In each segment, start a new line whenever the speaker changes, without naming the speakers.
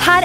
her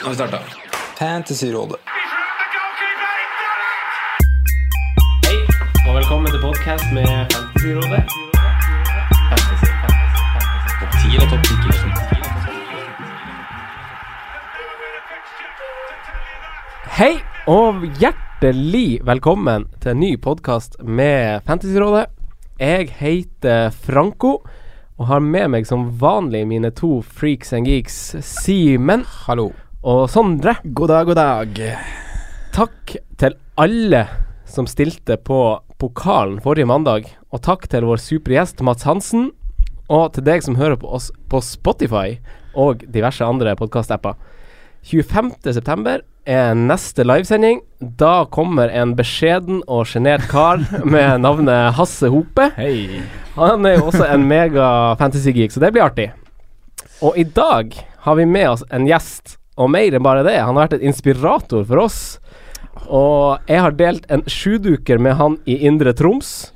Nå har vi starta. Fantasyrådet.
Hei, og velkommen til podcast med Fantasyrådet. Topp 10 eller topp 10 Hei, og hjertelig velkommen til en ny podcast med Fantasyrådet. Jeg heter Franco, og har med meg som vanlig mine to freaks and geeks, Simen
Hallo.
og Sondre.
God dag, god dag.
Takk til alle som stilte på pokalen forrige mandag. Og takk til vår supergjest Mats Hansen. Og til deg som hører på oss på Spotify og diverse andre podkast-apper. 25.9 er neste livesending. Da kommer en beskjeden og sjenert kar med navnet Hasse Hope.
Hei.
Han er jo også en mega fantasy-geek, så det blir artig. Og i dag har vi med oss en gjest, og mer enn bare det. Han har vært en inspirator for oss. Og jeg har delt en sjuduker med han i Indre Troms.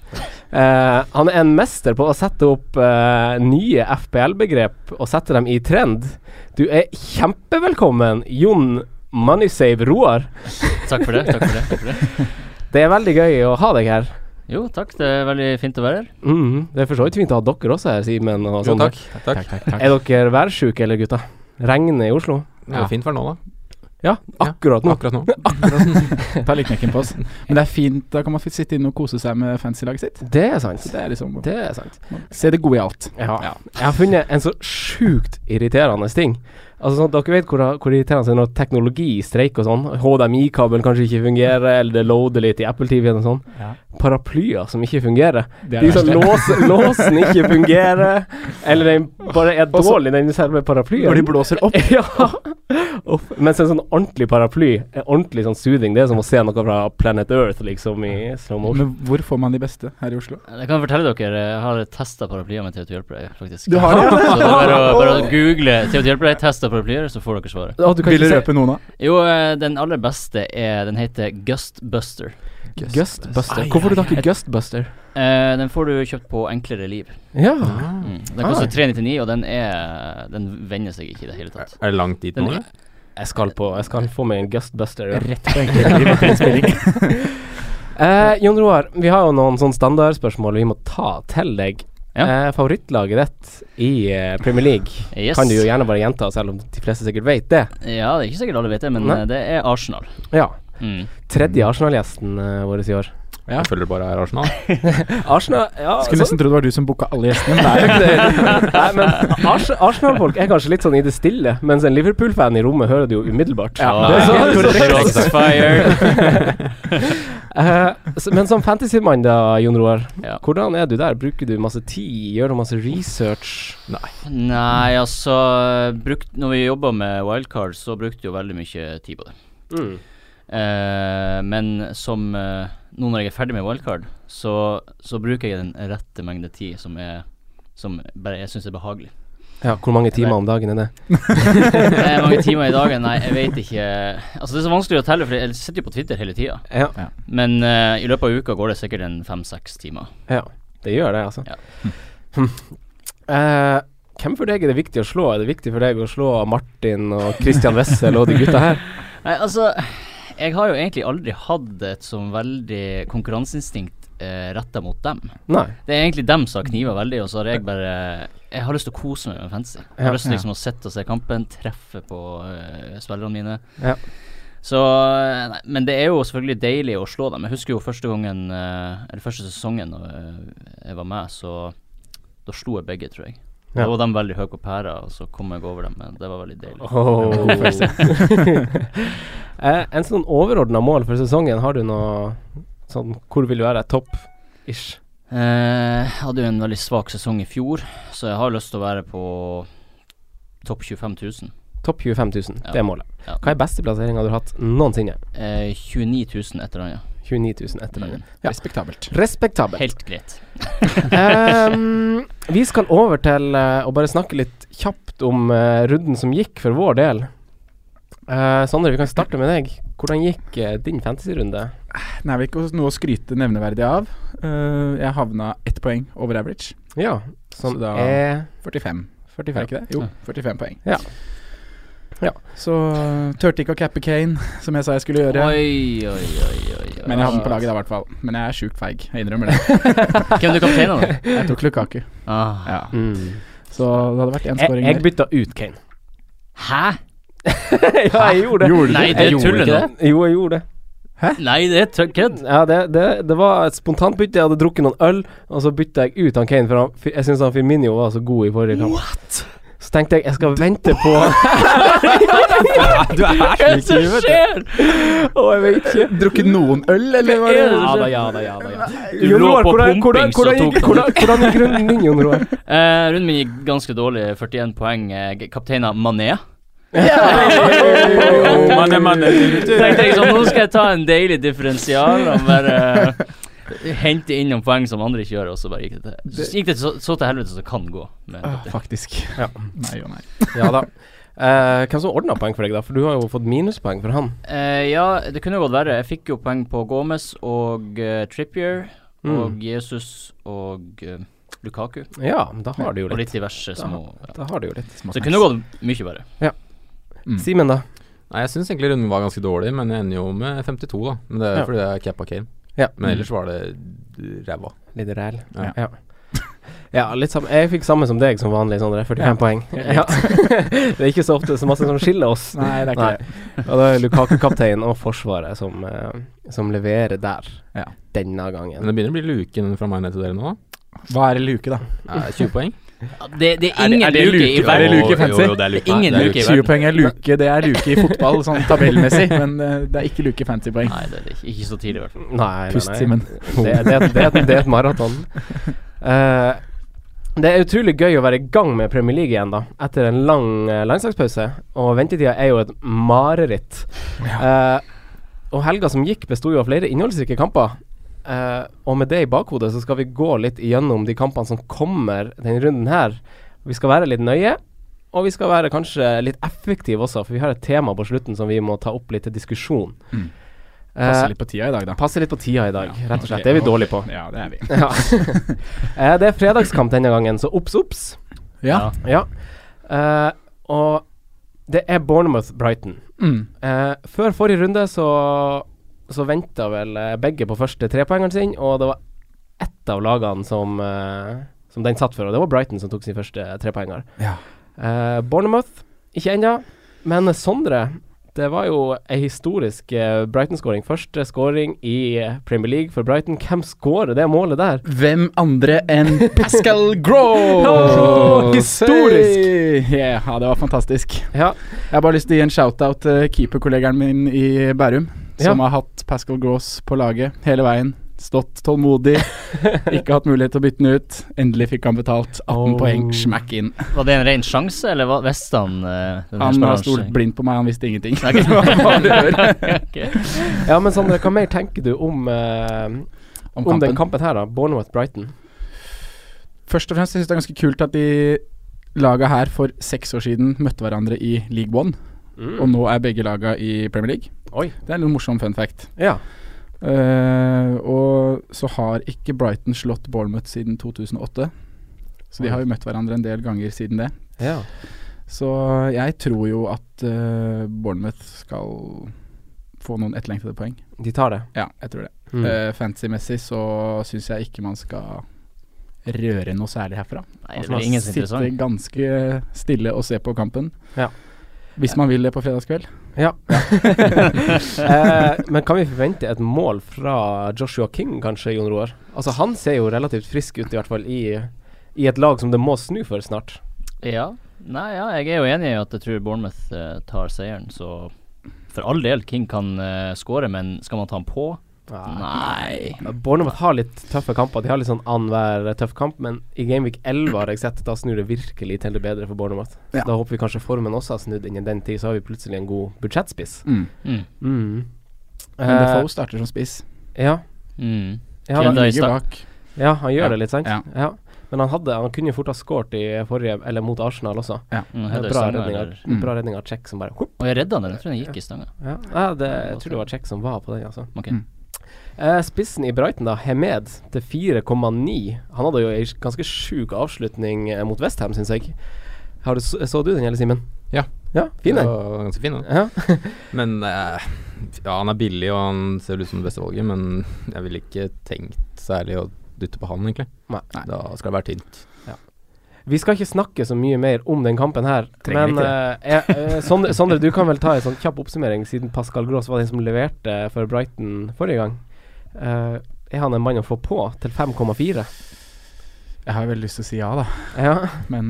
Eh, han er en mester på å sette opp eh, nye FPL-begrep og sette dem i trend. Du er kjempevelkommen, Jon Moneysave Roar.
Takk for det. takk for det, takk for det.
Det er veldig gøy å ha deg her.
Jo, takk. Det er veldig fint å være her.
Mhm. det er for så vidt fint å ha dere også her, Simen. og
Jo,
Sondre.
takk. takk.
Er dere værsjuke, eller gutta? Regner i Oslo?
Det er jo fint vær nå, da.
Ja, akkurat nå.
Akkurat nå.
Ta litt knekken på oss. Men det er fint, da kan man f- sitte inne og kose seg med fancy-laget sitt.
Det er sant.
Så det er liksom
Det er sant.
Se det gode i alt.
Ja. Jeg har funnet en så sjukt irriterende ting. Altså sånn, at Dere vet hvor, hvor irriterende det er når teknologi streiker og sånn. HDMI-kabelen kanskje ikke fungerer, eller det loader litt i Apple TV-en og sånn. Paraplyer som ikke fungerer.
Det
De som låser, låsen ikke fungerer, eller den bare er
så-
dårlig, den selve paraplyen.
Når de blåser opp.
Ja! Uff. Mens en sånn ordentlig paraply, en ordentlig sånn soothing, det er som å se noe fra Planet Earth, liksom, i slow motion.
Men hvor får man de beste her i Oslo?
Jeg kan fortelle dere, jeg har testa paraplyer med Theo til hjelper deg, faktisk.
Du har det?
Så det er bare å, bare å google Theo til hjelper deg, testa paraplyer, så får dere svaret.
Å, du kan
Vil du
ikke
røpe noen, da?
Jo, eh, den aller beste er Den heter Gustbuster.
si Gustbuster. Hvorfor har du tatt ikke Gustbuster?
Eh, den får du kjøpt på Enklere liv.
Ja.
Mm. Den
Ah.
koster 399, og den er Den vender seg ikke i det hele tatt.
Er det langt dit nå?
Den,
eller?
Jeg skal på Jeg skal få meg en Gustbuster.
Rett på enkeltliv.
Eh, Jon Roar, vi har jo noen sånne standardspørsmål vi må ta til deg.
Ja.
Eh, favorittlaget ditt i eh, Premier League
Yes.
kan du jo gjerne bare gjenta, selv om de fleste sikkert vet det.
ja, det er ikke sikkert alle vet det, men
Nei.
eh, det er Arsenal.
Ja.
Mm.
Tredje Arsenal-gjesten eh, vår i år.
Jeg føler det bare er Arsenal.
Arsenal ja,
Skulle
så-
nesten tro det var du som booka alle gjestene. Men det er jo ikke det.
Nei, men Ars Arsenal-folk er kanskje litt sånn i det stille, mens en Liverpool-fan i rommet hører det jo umiddelbart.
Ah,
Det er sant.
Shots fired.
Eh, så- men som fantasymann da, Jon Roar,
Ja.
hvordan er du der? Bruker du masse tid? Gjør du masse research?
Nei, altså brukt, Når vi jobba med wildcard, så brukte jeg jo veldig mye tid på det.
Mm.
Eh, men som eh, Nå når jeg er ferdig med wildcard, så, så bruker jeg den rette mengde tid som, er, som bare jeg syns er behagelig.
Ja, hvor mange timer om dagen er det?
Det er mange timer i dagen, nei, jeg vet ikke Altså Det er så vanskelig å telle, for jeg sitter jo på Twitter hele tida.
Ja.
Men eh, i løpet av uka går det sikkert en fem-seks timer.
ja. Det gjør det, altså.
Ja.
Hm. Eh, hvem for deg er det viktig å slå? Er det viktig for deg å slå Martin og Christian Wessel og de gutta her?
Nei, altså Jeg har jo egentlig aldri hatt et sånn veldig konkurranseinstinkt uh, retta mot dem.
Nei.
Det er egentlig dem som har kniva veldig, og så har jeg bare Jeg har lyst til å kose meg med fantasy. Jeg har lyst til liksom å sitte og se kampen, treffe på eh, spillerne mine.
Ja.
Så, eh, nei, men det er jo selvfølgelig deilig å slå dem. Jeg husker jo første gangen, eh, eller første sesongen eh, jeg var med, så da slo jeg begge, tror jeg.
Ja.
Da var de veldig høye på pæra, og så kom jeg over dem. Men det var veldig deilig. Det var en god følelse.
Oh. eh, en sånn overordna mål for sesongen, har du noe sånn Hvor vil du være? Topp? Ish.
Eh, Jeg hadde jo en veldig svak sesong i fjor, så jeg har lyst til å være på topp 25 000.
Topp 25 000,
Ja.
det er målet.
Ja.
Hva er beste plasseringa du har hatt noensinne?
Eh, 29 000 et eller annet.
29 000 etter
Mm.
mm. Respektabelt.
Helt greit.
Ehm, vi skal over til eh, å bare snakke litt kjapt om eh, runden som gikk for vår del. Eh, Sondre, vi kan starte med deg. Hvordan gikk eh, din fantasy-runde?
Nei, vi ikke noe å skryte nevneverdig av. Eh, jeg havna ett poeng over average.
Ja, som
så da
er
45.
45.
Er det ikke det? Jo, 45 poeng.
Ja. Ja.
Så eh, turte ikke å cappe Kane, som jeg sa jeg skulle gjøre.
Oi, oi, oi, oi, oi.
Men jeg havnet på laget da, i hvert fall. Men jeg er sjukt feig, jeg innrømmer det.
Hvem du kapteina da?
Jeg tok Lukaku.
Ah.
Ja.
Mm.
Så det hadde vært én
Jeg,
skåring
jeg bytta ut Kane.
Hæ?
ja, jeg gjorde det.
Gjorde du
Nei,
det?
det
Jeg gjorde
tuller
ikke
nå.
Jo, jeg gjorde det.
Nei, det er tø- kødd.
Ja, det, det, det var et spontant bytte. Jeg hadde drukket noen øl, og så bytta jeg ut han Kane, for han, jeg syntes han Firminio var så god i forrige kamp. Så tenkte jeg jeg skal vente på
Du er slik i huet.
Å, jeg vet ikke.
Drukket noen øl, eller? Hva er det?
Ja da, ja da, ja da. Ja. Du
Jon
lå
Roar,
på
hvordan- hvordan-
pumping, så
hvordan
tok
gikk-
han
Hvordan hvordan gikk runden din, Jon Roar?
Eh, runden min gikk ganske dårlig. 41 poeng. Eh, Kapteina Mané.
Manne, manne, du- du-
Tenkte jeg sånn, nå skal jeg ta en deilig differensial og bare eh, hente inn noen poeng som andre ikke gjør, og så bare gikk det til, så gikk det så, så til helvete som det kan gå. Med
Ah, Faktisk. Nei og nei.
Ja da. Eh, hvem som ordna poeng for deg, da? For du har jo fått minuspoeng for han.
Eh, ja, det kunne gått verre. Jeg fikk jo poeng på Gomez og eh, Trippier og Jesus og eh, Lukaku.
Ja, da har du jo
Og
litt.
litt diverse små ja.
Da har du jo litt.
Så det kunne gått mye verre.
Mm.
Simen, da?
Nei, jeg syns egentlig runden var ganske dårlig, men jeg ender jo med 52, da. Men det er
Ja.
fordi det er cappa Kane.
Ja.
Men ellers var det ræva.
Litt ræl.
Ja.
Ja. Ja, litt samme. Jeg fikk samme som deg som vanlig, Sondre. 45 poeng. Ja. det er ikke så ofte så masse som skiller oss.
Nei, det er
Nei.
ikke det.
Og da er Lukaku-kapteinen og Forsvaret som, eh, som leverer der.
Ja.
Denne
Men
gangen.
det begynner å bli luken fra meg ned til dere nå, da.
Hva er en luke, da?
Eh, 20 poeng.
Ja, Det, det
Er
er
det-
ingen
er det
luke i
luke?
Er det
verden.
luke i fantasy?
Jo, jo, det er luke.
Ingen
Nei, det er
luke i
20
verden.
poeng er luke, det er luke i fotball, sånn tabellmessig. Men eh, det er ikke luke i fantasypoeng.
Nei, det er det ikke. Ikke så tidlig, i hvert fall.
Nei,
Pust, Simen.
Det, er- det, er- det, er- det er et maraton. Eh, det er utrolig gøy å være i gang med Premier League igjen, da. Etter en lang eh, landslagspause. Og ventetida er jo et mareritt. Eh, og helga som gikk, besto jo av flere innholdsrike kamper. Eh, og med det i bakhodet så skal vi gå litt igjennom de kampene som kommer denne runden her. Vi skal være litt nøye, og vi skal være kanskje litt effektive også, for vi har et tema på slutten som vi må ta opp litt til diskusjon.
Mm. Passer
Eh,
litt på tida i dag, da.
Passer litt på tida i dag, rett og slett.
Ok,
Det er vi
ok.
dårlige på.
Ja, det er vi.
Ja. Eh, det er fredagskamp denne gangen, så obs, obs.
Ja.
Ja. Eh, og det er Bournemouth-Brighton.
Mm.
Eh, før forrige runde så, så venta vel eh, begge på første trepoengeren sin, og det var ett av lagene som, eh, som den satt for, og det var Brighton som tok sin første trepoenger.
Ja.
Eh, Bournemouth, ikke ennå, men Sondre det var jo ei historisk eh, Brighton-skåring. Første skåring i eh, Premier League for Brighton. Hvem skårer det målet der?
Hvem andre enn Pascal Gross?
Åh, historisk!
Hey! Yeah, ja, det var fantastisk.
Ja,
Jeg har bare lyst til å gi en shout-out til keeperkollegaen min i Bærum, som
Ja.
har hatt Pascal Gross på laget hele veien. Stått tålmodig, ikke hatt mulighet til å bytte den ut. Endelig fikk han betalt 18
Oh.
poeng, smakk inn.
Var det en ren sjanse, eller hva- visste han eh, den her
Han
spilleren
har stolt
seg?
blind på meg, han visste ingenting. Det var bare å høre.
ja men Sondre, hva mer tenker du om, eh,
Om
om den
kampen.
kampen her, da? Bournemouth-Brighton.
Først og fremst syns jeg synes det er ganske kult at de laga her for seks år siden møtte hverandre i League One, og nå er begge laga i Premier League.
Mm. Oi.
Det er en litt morsom fun fact.
Ja.
Eh, og så har ikke Brighton slått Bournemouth siden 2008. Så de har jo møtt hverandre en del ganger siden det.
ja.
Så jeg tror jo at eh, Bournemouth skal få noen etterlengtede poeng.
De tar det.
Ja, jeg tror det.
Mm.
Eh, Fantasy-messig så syns jeg ikke man skal røre noe særlig herfra.
Nei,
Man
det er
skal
ingen som er
sitte
interessant.
ganske stille og se på kampen.
Ja.
Hvis man vil det på fredagskveld.
Ja. eh, men kan vi forvente et mål fra Joshua King, kanskje, Jon Roar? Altså, han ser jo relativt frisk ut, i hvert fall i, i et lag som det må snu for snart.
Ja. Nei, ja, jeg er jo enig i at jeg tror Bournemouth eh, tar seieren, så for all del, King kan uh, skåre, men skal man ta han på? Nei.
Bournemouth har litt tøffe kamper. De har litt sånn annenhver tøff kamp, men i Gameweek 11 har jeg sett, da snur det virkelig til det bedre for Bournemouth.
Ja.
Da håper vi kanskje formen også har snudd innen den tid, så har vi plutselig en god budsjettspiss.
Mm.
Mm.
Mm.
Men
Eh,
Defoe starter som spiss.
Ja.
Mm.
Ja,
Kjell
da-
Dahl i
Ligger
sta-
bak.
Ja, han gjør
Ja.
det litt, sant?
Ja.
Men han, hadde, han kunne jo fort ha skåret i forrige, eller mot Arsenal også.
Mm,
Med
Hedda i
bra
stanga,
redning av-
eller-
Mm.
bra redning av Czech som bare hopp.
Og jeg redda han, eller? jeg tror han gikk i stanga.
Ja, ja det, jeg tror det var Czech som var på den, altså.
Ok.
Mm.
Eh, spissen i Brighton, da, Hemed, til 4,9. Han hadde jo ei ganske sjuk avslutning eh, mot Westham, syns jeg. Har du, så, så du den, eller Simen?
Ja.
ja fin
Det
den.
var Ganske fin, da.
Ja.
Men eh, ja, han er billig, og han ser ut som det beste valget, men jeg ville ikke tenkt særlig å dytte på han, egentlig.
Nei.
Da skal det være tynt.
Vi skal ikke snakke så mye mer om den kampen her,
Trenger
men eh, eh, Sondre, Sondre, du kan vel ta en sånn kjapp oppsummering, siden Pascal Gross var den som leverte for Brighton forrige gang. Eh, er han en mann å få på til 5,4?
Jeg har veldig lyst til å si ja, da,
Ja,
men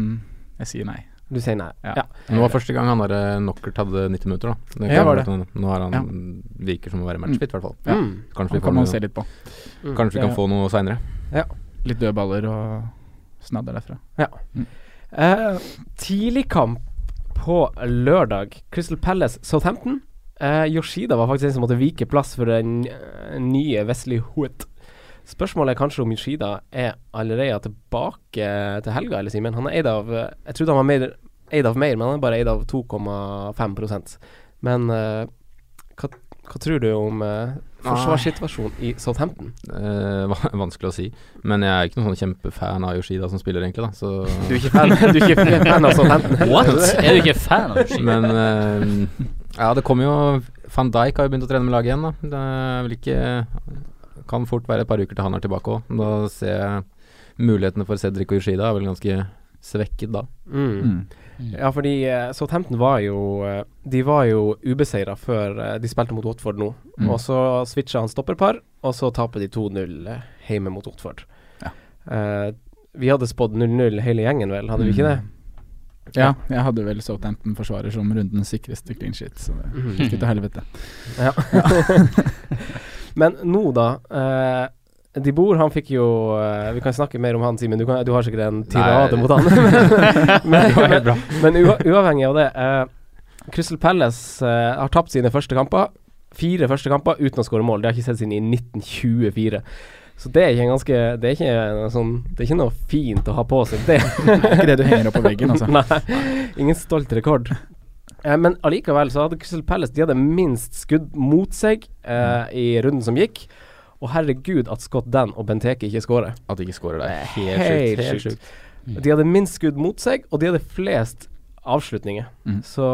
jeg sier nei.
du sier nei.
Ja.
Ja.
Nå var første gang han der Knockert hadde 90 minutter, da. kan
Ja, var
være sånn. Nå er han virker som å være matchfit, i hvert fall.
Ja.
Mm.
Kanskje vi,
Han kan man se
får,
litt på.
noe, kanskje vi kan
Ja.
få noe seinere.
Mm. Litt døde baller og snadder derfra.
Eh, tidlig kamp på lørdag. Crystal Palace Southampton. Eh, Yoshida var faktisk den som måtte vike plass for den eh, nye Wesley Hoot. Spørsmålet er kanskje om Yoshida er allerede tilbake til helga, eller Simen. Han er eid av eh, Jeg trodde han var mer, eid av mer, men han er bare eid av 2,5 Men eh, hva, hva tror du om eh, forsvarssituasjonen i Southampton?
Eh, va- vanskelig å si. Men jeg er ikke noen sånn kjempefan av Yoshida som spiller, egentlig. da Så
Du er ikke fan, du er ikke fan av Southampton?
What?! Er du ikke fan av Ski?
Men eh, ja, det kommer jo Van Dijk har jo begynt å trene med laget igjen, da. Det er vel ikke Kan fort være et par uker til han er tilbake òg. Da ser jeg mulighetene for Cedric og Yoshida er vel ganske svekket da.
Mm.
Mm.
Ja, fordi eh, Southampton var jo eh, De var jo ubeseira før eh, de spilte mot Watford nå.
Mm.
Og så switcha han stopperpar, og så taper de 2-0 eh, hjemme mot Watford.
Ja.
Eh, vi hadde spådd 0-0 hele gjengen, vel? Hadde vi ikke
Mm.
det?
Ja, jeg hadde vel Southampton-forsvarer som rundens sikreste clean shit, så det gikk jo til helvete.
Ja. Men nå, da. Eh, de Boer, han fikk jo eh, Vi kan snakke mer om han, Simen. Du, kan- du har sikkert en tirade
Nei.
mot han. men,
Det var helt bra.
Men ua uavhengig av det eh, Crystal Palace eh, har tapt sine første kamper. Fire første kamper uten å skåre mål. Det har jeg ikke sett siden i 1924. Så det er ikke en ganske Det er ikke, en sånn, det er ikke noe fint å ha på seg, det.
Ikke det du henger opp på veggen, altså.
Nei, ingen stolt rekord. Eh, men allikevel så hadde Crystal Palace De hadde minst skudd mot seg
Mm.
eh, i runden som gikk. Og herregud at Scott Dan og Benteke ikke skårer.
At de ikke scorer der.
Eh, Helt sjukt. De hadde minst skudd mot seg, og de hadde flest avslutninger.
Mm.
Så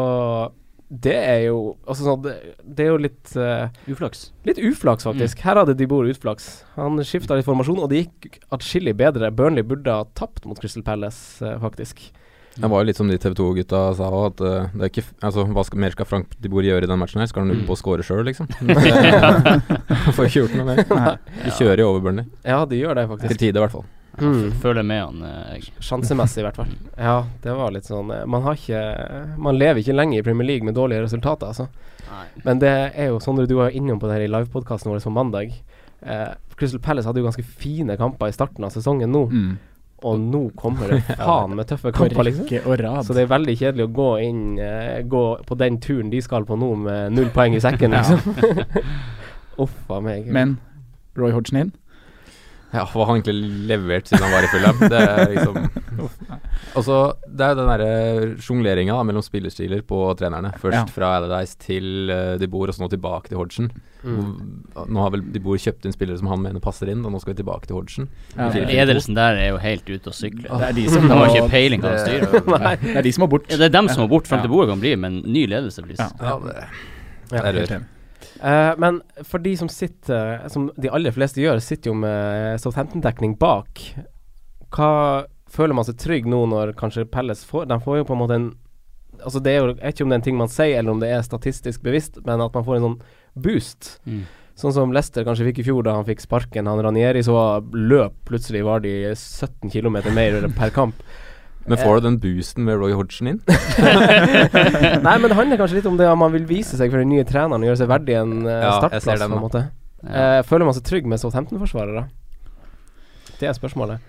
det er jo Altså sånn Det, det er jo litt eh,
Uflaks.
Litt uflaks, Mm. faktisk. Her hadde de bor utflaks. Han skifta litt formasjon, og det gikk atskillig bedre. Burnley burde ha tapt mot Crystal Palace, eh, faktisk.
Det var jo litt som de TV 2-gutta sa òg, at eh, det er ikke f- Altså, hva skal, mer skal Frank de Boer gjøre i den matchen her? Skal han ut på å score sjøl, liksom? Han får ikke gjort noe mer. De kjører jo over Burnley.
Ja, de gjør det,
Til
faktisk.
tide, i hvert fall.
Mm.
Føler med han, eh, jeg.
Sjansemessig, i hvert fall. Ja, det var litt sånn eh, Man har ikke Man lever ikke lenge i Premier League med dårlige resultater, altså.
Nei.
Men det er jo Sondre, du var jo innom på det her i livepodkasten vår på mandag. Eh, Crystal Palace hadde jo ganske fine kamper i starten av sesongen nå,
Mm.
og nå kommer det faen med tøffe
På
kamper, liksom.
rekke og rad.
Så det er veldig kjedelig å gå inn eh, Gå på den turen de skal på nå med null poeng i sekken, liksom. Uff a meg.
Men Roy Hodgson inn.
Mm. Ja, hva har han egentlig levert siden han var i Fulham? Det er liksom Og så, det er jo den derre sjongleringa da, mellom spillestiler på trenerne. Først
Ja.
fra Allardyce til uh, De Boer, og så nå tilbake til Hodgson. Hvor- Nå har vel De Boer kjøpt inn spillere som han mener passer inn, og nå skal vi tilbake til Hodgson.
Ja, det, er,
Ledelsen der er jo helt ute å sykle.
det, er de som
De har
må,
ikke peiling på hva de styrer.
det er de som må bort.
Ja, det er dem som må bort. Frank
Ja.
de Boer kan bli, men ny ledelse blir
Ja.
Ja, det,
Ja,
det er
Helt
rør.
enig.
Eh, men for de som sitter Som de aller fleste gjør, sitter jo med eh, Southampton-dekning bak. Hva føler man seg trygg nå når kanskje Pelles får De får jo på en måte en altså det er jo, Jeg vet ikke om det er en ting man sier, eller om det er statistisk bevisst, men at man får en sånn boost.
Mm.
Sånn som Lester kanskje fikk i fjor, da han fikk sparken. Han Ranieri så løp plutselig var de 17 km mer per kamp.
Men får du den boosten med Roy Hodgson inn?
Nei, men det handler kanskje litt om det om man vil vise seg for den nye treneren og gjøre seg verdig en eh,
Ja, jeg ser
startplass,
den,
på en måte.
da.
Eh, føler man seg trygg med Southampton-forsvarere? Det er spørsmålet.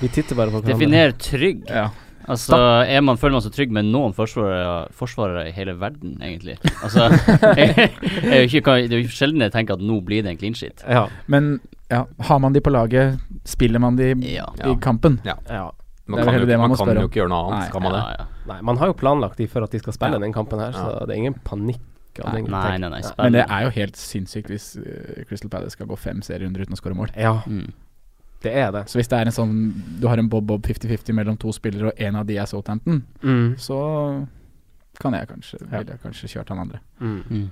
Vi titter bare på hverandre.
Definer trygg.
Ja.
Altså, er man, føler man seg trygg med noen forsvarere, forsvarere i hele verden, egentlig? Altså, jeg, er jo ikke, kan- det er jo ikke sjelden jeg tenker at nå blir det en clean shit.
Ja.
Men ja, har man de på laget, spiller man de i kampen?
Ja.
Ja.
Det er vel heller det man må spørre om. Nei.
Nei, man har jo planlagt de for at de skal spille den kampen her,
Ja.
så det er ingen panikk. av den tenk-
Men det er jo helt sinnssykt hvis eh, Crystal Palace skal gå fem serierunder uten å skåre mål.
Ja,
Mm.
det er det.
Så hvis det er en sånn du har en bob-bob 50-50 mellom to spillere, og en av de er Southampton,
Mm.
så kan jeg kanskje, ville jeg kanskje kjørt han andre.
Mm.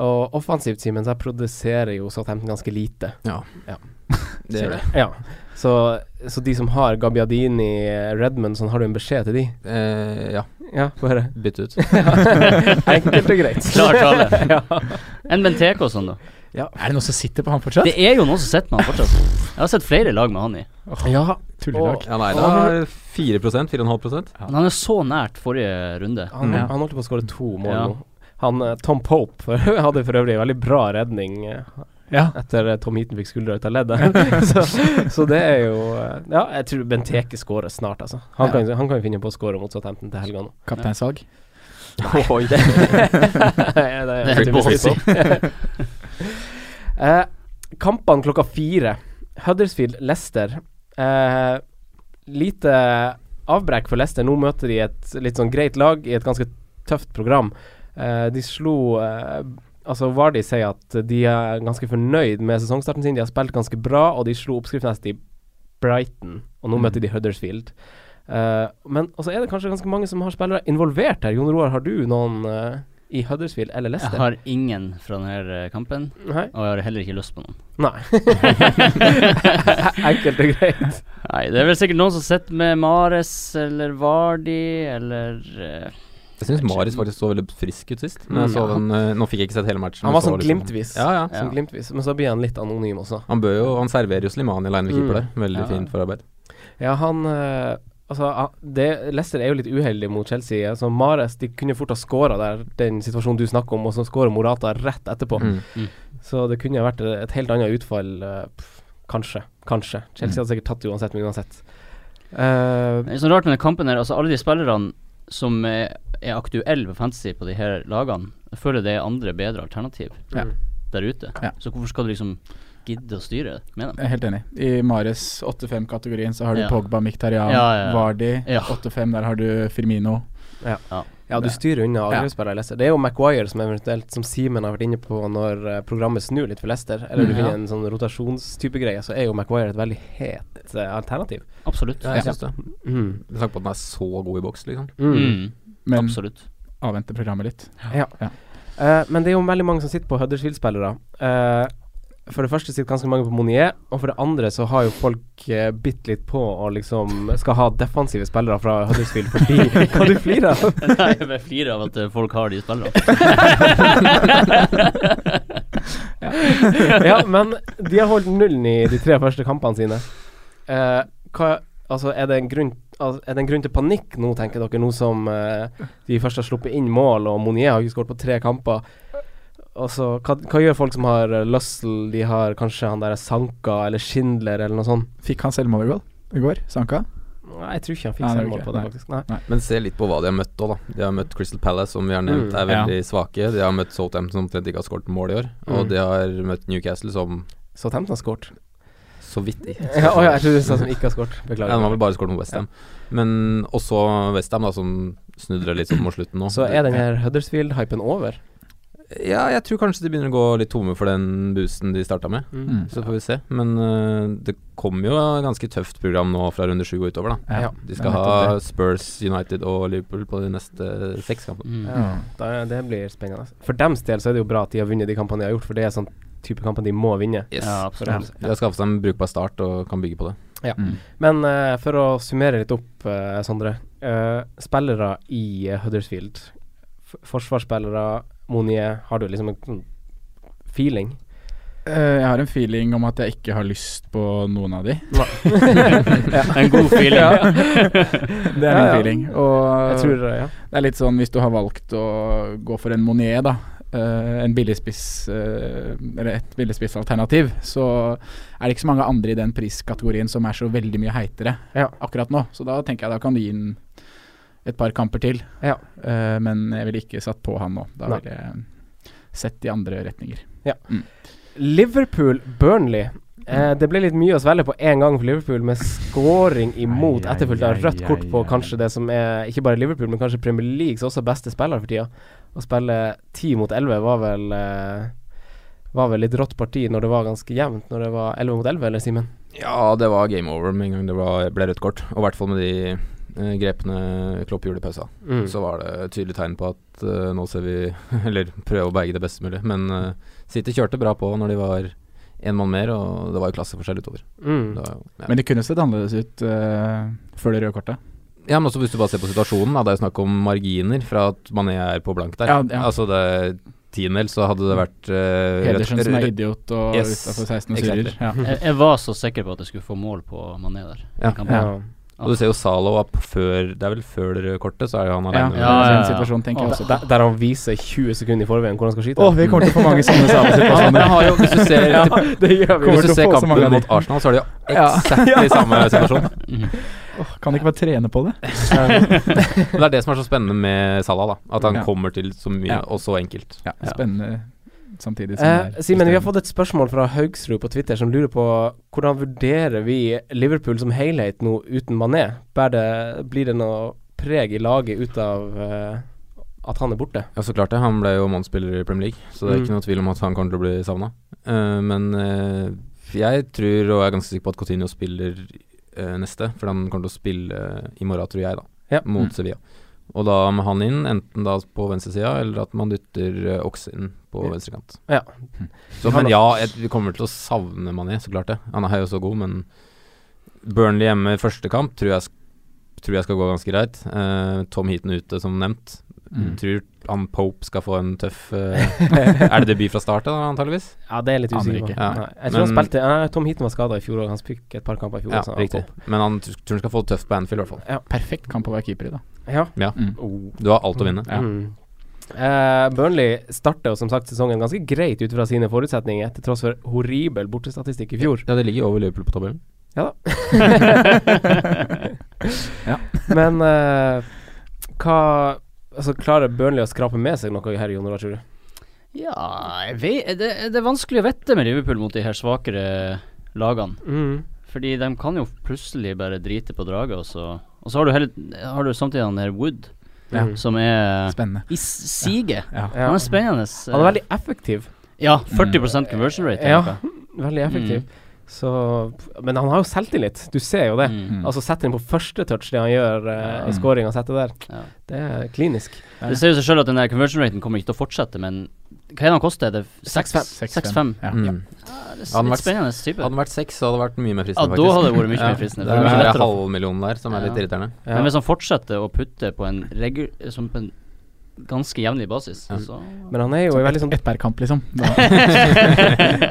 Og offensivt, Simen, så jeg produserer jo Southampton ganske lite.
Ja.
Det gjør det.
Ja. Så, så de som har Gabbiadini, Redmond, sånn, har du en beskjed til de?
Eh, ja.
Ja, få høre.
Bytte ut.
Enkelt og greit.
Klar tale.
ja.
Enn Benteke og sånn, da?
Er det noen som sitter på han fortsatt?
Det er jo noen som sitter med han fortsatt. Jeg har sett flere lag med han i.
ja.
Tullelag.
Ja, nei, det er 4 4,5
Men han er så nært forrige runde.
Han,
Ja.
han holdt på å skåre to mål
Ja.
nå. Han, eh, Tom Pope for, hadde for øvrig en veldig bra redning eh,
Ja.
etter eh, Tom Heaton fikk skuldra ut av leddet. så, så det er jo eh, Ja, jeg tror Benteke skårer snart, altså. Han, kan, han kan jo finne på å skåre mot Southampton til helga nå.
Kapteinsalg?
Oi.
det,
Det er
det
helt
er uh, Kampene klokka fire. Huddersfield-Lester. lite avbrekk for Lester. Nå møter de et litt sånn greit lag i et ganske tøft program. Eh, de slo eh, Altså Vardy sier at de er ganske fornøyd med sesongstarten sin. De har spilt ganske bra, og de slo oppskriftsnest i Brighton, og nå
Mm.
møter de Huddersfield. Eh, men også er det kanskje ganske mange som har spillere involvert her. Jon Roar, har du noen eh, i Huddersfield eller
Jeg
Leicester?
har ingen fra denne eh, kampen,
Nei.
og jeg har heller ikke lyst på noen.
Nei. Enkelt og greit.
Nei, det er vel sikkert noen som sitter med Mares eller Vardi eller eh,
Jeg syns Marius faktisk så veldig frisk ut sist. Når jeg
Mm.
så
Ja.
den, eh, nå fikk jeg ikke sett hele matchen. men
Han var
så
sånn
liksom-
glimtvis.
Ja, ja.
Sånn
Ja.
glimtvis. Men så blir han litt anonym også.
Han bør jo Han serverer jo Slimani aleine ved
Mm.
keeper der. Veldig
Ja.
fint forarbeid.
Ja, han eh, Altså, han- det, Leicester er jo litt uheldig mot Chelsea. Altså, Mares de kunne fort ha skåra der, den situasjonen du snakker om, og så skårer Morata rett etterpå.
Mm.
Mm.
Så det kunne ha vært et helt annet utfall. eh, pff, kanskje. Kanskje.
Mm.
Chelsea hadde sikkert tatt det uansett, men uansett. Eh,
Det er så rart med den kampen her. Altså, alle de spillerne som er, er aktuelle på fantasy på de her lagene, jeg føler det er andre bedre alternativ
Ja.
der ute.
Ja.
Så hvorfor skal du liksom gidde å styre med dem?
Jeg er helt enig. I Mares 8-5-kategorien så har du
Ja.
Pogba, Miktarian,
Ja, ja, ja.
Vardi.
Ja.
8-5, der har du Firmino.
ja, du styrer unna
Ja.
angrepsspillere i Leicester. Det er jo Maguire som eventuelt, som Simen har vært inne på når eh, programmet snur litt for Leicester, eller du
Mm.
finner
Ja.
en sånn rotasjonstype greie, så er jo Maguire et veldig het eh, alternativ.
Absolutt.
Ja, jeg syns det.
Mm.
Med tanke på at den er så god i boks, liksom.
Mm.
Men
Absolutt.
avvente programmet litt.
Ja.
Ja.
Eh, men det er jo veldig mange som sitter på Huddersfield-spillere. Eh, for det første sitter ganske mange på Monier, og for det andre så har jo folk eh, bitt litt på og liksom skal ha defensive spillere fra Huddersfield fordi Hva du flirer av?
Nei, jeg bare flirer av at eh, folk har de spillerne.
ja, men de har holdt nullen i de tre første kampene sine. Eh, hva, altså, er, det en grunn, altså, er det en grunn til panikk nå, tenker dere, nå som eh, de først har sluppet inn mål, og Monier har ikke skåret på tre kamper? Altså, hva, hva gjør folk som har eh, Lussel, de har kanskje han der Sanka eller Schindler eller noe sånt?
Fikk han selvmål i går? I går? Sanka?
Nei, jeg tror ikke han fikk
Nei, det er
selvmål
ikke-
på det,
nei.
faktisk. Nei.
Men se litt på hva de har møtt òg, da. De har møtt Crystal Palace, som vi har nevnt
Mm.
er veldig svake. De har møtt Southampton, som omtrent ikke har skåret mål i år. Og
Mm.
de har møtt Newcastle, som
Så Tempton har skåret.
så vidt i.
Ja, å ja, jeg trodde du sa som ikke har skåret.
Ja, den har
Beklager.
vel bare skåret mot Westham. Men også Westham, da, som snudde det litt sånn mot slutten nå.
Så er den her Huddersfield-hypen over?
Ja, jeg tror kanskje de begynner å gå litt tomme for den boosten de starta med.
Mm.
Så får vi se. Men øh, det kommer jo et ganske tøft program nå fra runde sju og utover, da.
Ja.
De
det
skal
er
ha
nettopp
Spurs, United og Liverpool på de neste seks kampene.
Mm.
Ja, da, det blir spennende. altså. For dems del så er det jo bra at de har vunnet de kampene de har gjort, for det er sånn type kamper de må vinne.
Yes.
Ja,
For dem.
absolutt.
De har skaffet seg en brukbar start og kan bygge på det.
Men eh, for å summere litt opp, eh, Sondre. eh, spillere i eh, Huddersfield f- forsvarsspillere, Monier Har du liksom en sånn feeling?
Eh, Jeg har en feeling om at jeg ikke har lyst på noen av de.
Ja. En god feeling.
Ja.
Ja.
Det er
Ja, ja.
min feeling. Og
Jeg tror det, ja.
det er litt sånn hvis du har valgt å gå for en Monier, da. eh, en billigspiss eh, Eller et billigspissalternativ, så er det ikke så mange andre i den priskategorien som er så veldig mye heitere akkurat nå. Så da tenker jeg da kan du gi den et par kamper til. Eh, men jeg ville ikke satt på han nå. Da
Nei.
ville jeg sett i andre retninger.
Ja. Liverpool-Burnley. Eh, det ble litt mye å svelge på én gang for Liverpool, med scoring imot,
Ai, ai,
etterfulgt av
ai,
rødt kort på
ai,
kanskje det som er ikke bare Liverpool, men kanskje Premier Leagues også beste spiller for tida. Å spille ti mot elleve var vel eh, Var vel litt rått parti når det var ganske jevnt, når det var elleve mot elleve, eller Simen?
Ja, det var game over med en gang det var, ble rødt kort. Og i hvert fall med de eh, grepene Klopp gjorde i pausa.
Mm.
Så var det et tydelig tegn på at eh, nå ser vi Eller prøve å berge det beste mulig. Men eh, City kjørte bra på når de var én mann mer, og det var jo klasseforskjell utover.
Mm.
Det var jo- ja.
Men det kunne sett annerledes ut eh, før det røde kortet.
Ja, men også hvis du bare ser på situasjonen, da, det er jo snakk om marginer fra at Mané er på blank der.
Ja, ja.
Altså det er tiendedel, så hadde det vært eh, rødt-
Pedersen som er
rødt-
idiot og
Yes,
utenfor 16 og
exactly.
surrer. Ja.
Jeg, jeg var så sikker på at jeg skulle få mål på Mané der. i
Ja.
kampen.
ja. Og du ser jo Zalo opp før Det er vel før det røde kortet, så er jo han
Ja,
alene.
ja, ja, ja. Situasjon, tenker jeg
Og
også.
Altså, der, der han viser 20 sekunder i forveien hvor han skal skyte.
Åh, vi kommer til å få mange sånne
Ja, men jeg har jo, hvis du ser,
Ja, det gjør vi.
hvis
til
du
å
ser
få så mange
kampen
av
mot
de.
Arsenal, så er det jo
Ja.
eksakt i samme situasjon.
Åh, kan ikke bare trene på det?
Men det er det som er så spennende med Salah, da. At han
Ja.
kommer til så mye,
Ja.
og så enkelt.
Ja, spennende samtidig
sånn
som det
Eh,
er
Simen, vi har
frustrerende.
fått et spørsmål fra Haugsrud på Twitter som lurer på hvordan vurderer vi Liverpool som helhet nå uten Mané? Bærer det, blir det noe preg i laget ut av eh, at han er borte?
Ja, så klart det. Han ble jo mannsspiller i Premier League, så det er
Mm.
ikke noe tvil om at han kommer til å bli savna. men eh, jeg tror, og er ganske sikker på, at Coutinho spiller eh, neste, for han kommer til å spille i morgen, tror jeg, da,
Ja.
mot
Mm.
Sevilla. Og da med han inn, enten da på venstresida, eller at man dytter uh, Ox inn på venstrekant.
Ja.
Så, men ja, jeg, vi kommer til å savne Mané, så klart det. Han er jo så god, men Burnley hjemme i første kamp tror jeg, sk- tror jeg skal gå ganske greit. Eh, Tom Heaton ute, som nevnt.
Mm.
Tror han Pope skal få en tøff eh, Er det debut fra start, da, antageligvis?
Ja, det er jeg litt
Aner
usikker på.
ikke.
Ja.
Nei, Jeg tror han
Men-
spilte nei, Tom Heaton var skada i fjor, og han fikk et par kamper i fjor.
Ja,
så
altså,
han
riktig.
kom.
Men han tr- tror han skal få det tøft på Anfield, i hvert fall.
Perfekt kamp å være keeper i, da.
Ja.
Ja.
Mm.
Du har alt å vinne.
Ja.
Mm. Eh, Burnley starter jo som sagt sesongen ganske greit ut fra sine forutsetninger, til tross for horribel bortestatistikk i fjor.
Ja, det ligger over Liverpool på tabellen.
Ja da. Men eh, hva Altså, klarer Burnley å skrape med seg noe her, Jon Olav, tror du?
Ja, jeg vet, det, det er vanskelig å vite med Liverpool mot de her svakere lagene. Fordi de kan jo plutselig bare drite på draget, og så, og så har, du hele, har du samtidig han her Wood,
Ja.
som er
Spennende.
i s- siget.
Ja.
Ja.
Han er spennende. eh,
Han er veldig effektiv.
Ja, 40 conversion rate. eller
Ja,
noe. Mm.
veldig effektiv. Så Men han har jo selvtillit, du ser jo det.
Mm.
Altså, setter inn på første touch det han gjør, uh, og scoringa setter der.
Ja.
Det er klinisk.
Det ser jo seg selv at den der conversion raten kommer ikke til å fortsette, men hva er det han koster? Det er 6-5. 6-5.
Ja.
Mm.
Ja, det
Hadde
er
vært-
litt spennende type.
Hadde den vært seks, så hadde det vært mye mer
Ja,
fristende,
da hadde det vært mye mer fristende.
Det
for
er
det
den
er lettere å-
halvmillionen der som er litt
Ja.
irriterende.
Men hvis han fortsetter å putte på en, regu som på en ganske jevnlig basis, så
Men han er jo i veldig sånn
Ett per kamp, liksom. Da.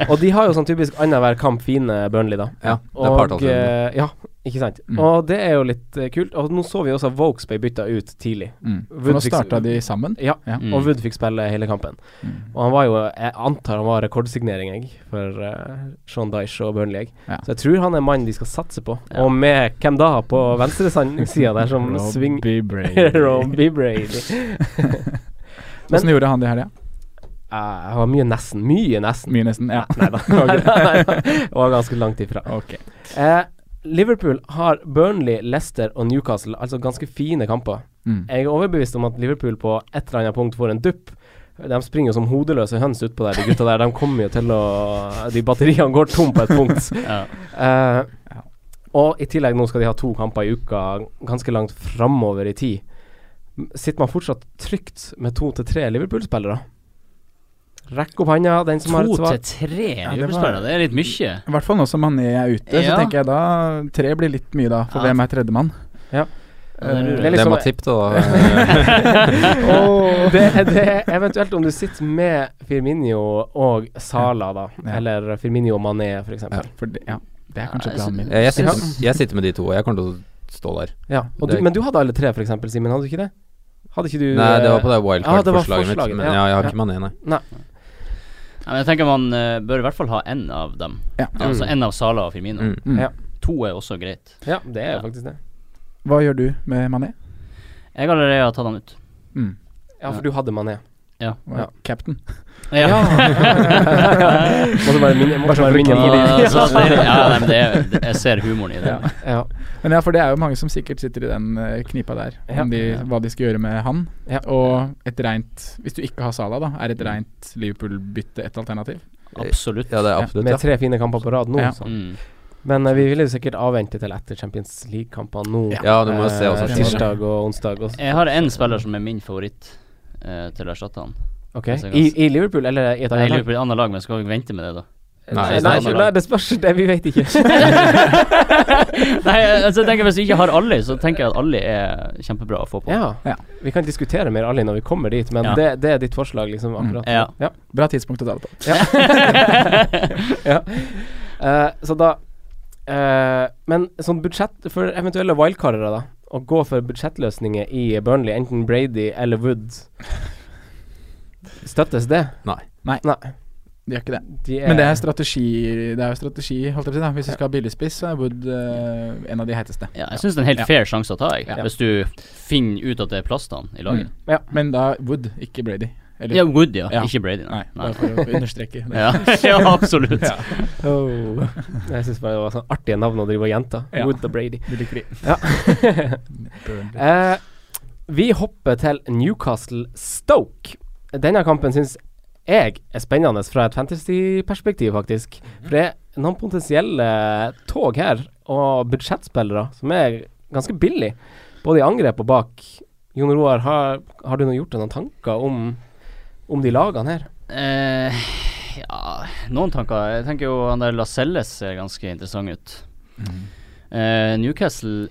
Og de har jo sånn typisk annenhver kamp fine Burnley, da.
Ja, det er
Og,
partallsrunde.
eh, ja, ikke sant.
Mm.
Og det er jo litt eh, kult. Og nå så vi også at Vokes ble bytta ut tidlig.
Mm. For nå starta de sammen.
Ja,
Ja.
Mm.
og Wood fikk spille hele kampen.
Mm.
Og han var jo Jeg antar han var rekordsignering, jeg, for eh, Sean Dyche og Burnley, jeg.
Ja.
Så jeg tror han er mannen de skal satse på. Og med hvem da på venstresida der som svinger
Robbie Brady.
Robbie Brady. Eh, Men-
Åssen gjorde han det i helga?
Eh, Han var mye nesten. Mye nesten.
Mye, nesten. Ja.
Nei da. Var ganske langt ifra.
Ok.
Eh, Liverpool har Burnley, Leicester og Newcastle, altså ganske fine kamper.
Mm.
Eh.
Jeg er overbevist om at Liverpool på et eller annet punkt får en dupp. De springer jo som hodeløse høns utpå der, de gutta der. De kommer jo til å De batteriene går tom på et punkt.
ja.
Eh, og i tillegg nå skal de ha to kamper i uka, ganske langt framover i tid. M- Sitter man fortsatt trygt med to til tre Liverpool-spillere? Rekk opp handa, den som har
To
et svar.
til tre
var-
Liverpool-spillere, det er litt mye.
I hvert fall nå som Mané er ute, så
Ja.
tenker jeg da tre blir litt mye, da. For
Ja.
hvem er tredjemann? Eh,
Ja.
Ja, det lurer jeg
Det er liksom-
på.
Det må tippe, da.
Åh. det, det er eventuelt om du sitter med Firminio og Sala, da. Eller Firminio og Mané, for eksempel.
det er
kanskje planen min.
Jeg, jeg, sitter, jeg sitter med de to, og jeg kommer til å stå der.
Ja, og du,
Det-
men du hadde alle tre, for eksempel, Simen. Hadde du ikke det? Hadde ikke du
Nei, det var
eh,
på det
ja, det var
wildcard-forslaget mitt.
forslaget,
Men ja, jeg har ikke mané, nei.
Nei, men jeg tenker man eh, bør i hvert fall ha én av dem. Altså
Mm.
én av Sala og Firmino.
Mm.
Mm. Ja.
To er også greit.
Ja, det er faktisk det.
Hva gjør du med Mané?
Jeg har allerede tatt han ut.
Mm.
Ja, for du hadde Mané.
Ja.
Ja. Captain.
Ja.
Måtte bare minne- måtte
Bare sånn
bare minne-
for å-
Ja.
Så, så, ja, nei, men det er, det, jeg ser humoren i det.
Ja. Men ja, for det er jo mange som sikkert sitter i den eh, knipa der,
Ja.
om de, hva de skal gjøre med han.
Ja.
Og et rent Hvis du ikke har Salah, da, er et rent Liverpool-bytte et alternativ?
Absolutt.
Ja, det er absolutt,
Med
ja.
tre fine kamper på rad nå,
Ja.
så.
Mm.
Men eh, vi vil jo sikkert avvente til etter Champions League-kampene nå.
Ja, du må jo se
eh,
hva som skjer.
Tirsdag og onsdag. Og
Jeg har én spiller som er min favoritt eh, til å erstatte han.
Ok.
Altså, jeg
I,
kan-
I Liverpool, eller i et
Nei,
annet lag?
jeg lurer på et annet lag, men skal vi vente med det, da?
Nei,
Nei,
Nei,
nei, det spørs. Det, vi vet ikke.
Nei, altså, jeg tenker Hvis du ikke har Ali, så tenker jeg at Ali er kjempebra å få på.
Ja.
Ja.
Vi kan diskutere mer Ali når vi kommer dit, men
Ja.
det, det er ditt forslag liksom akkurat nå.
Ja.
Ja.
Bra tidspunkt å ta det på.
ja. Eh, så da eh, Men sånn budsjett for eventuelle wildcarere, da. Å gå for budsjettløsninger i Burnley, enten Brady eller Wood Støttes det?
Nei.
Nei.
De gjør ikke det.
De
Men det er strategi, det er jo strategi holdt jeg på å si. da Hvis du skal ha billigspiss, så er Wood eh, en av de heiteste.
Ja, jeg syns det er en helt fair sjanse å ta, jeg.
Ja.
Hvis du finner ut at det er plass til han i laget.
Mm. Men da Wood, ikke Brady. Eller-
Ja, Wood, ja.
Mm. Ja.
Ikke Brady,
Nei,
nei.
bare
nei.
for å understreke det.
Ja, ja absolutt.
oh. Jeg syns bare det var sånn artige navn å drive og gjenta.
Ja.
Wood og Brady.
Du liker de.
Ja.
Burnley.
Eh, vi hopper til Newcastle-Stoke. Denne kampen syns jeg er spennende fra et fantasy-perspektiv, faktisk.
Mhm.
For det er noen potensielle tog her, og budsjettspillere, som er ganske billig. Både i angrep og bak. Jon Roar, har, har du nå gjort deg noen tanker om, om de lagene her?
Eh, ja, noen tanker. Jeg tenker jo han der Lascelles ser ganske interessant ut. Eh, Newcastle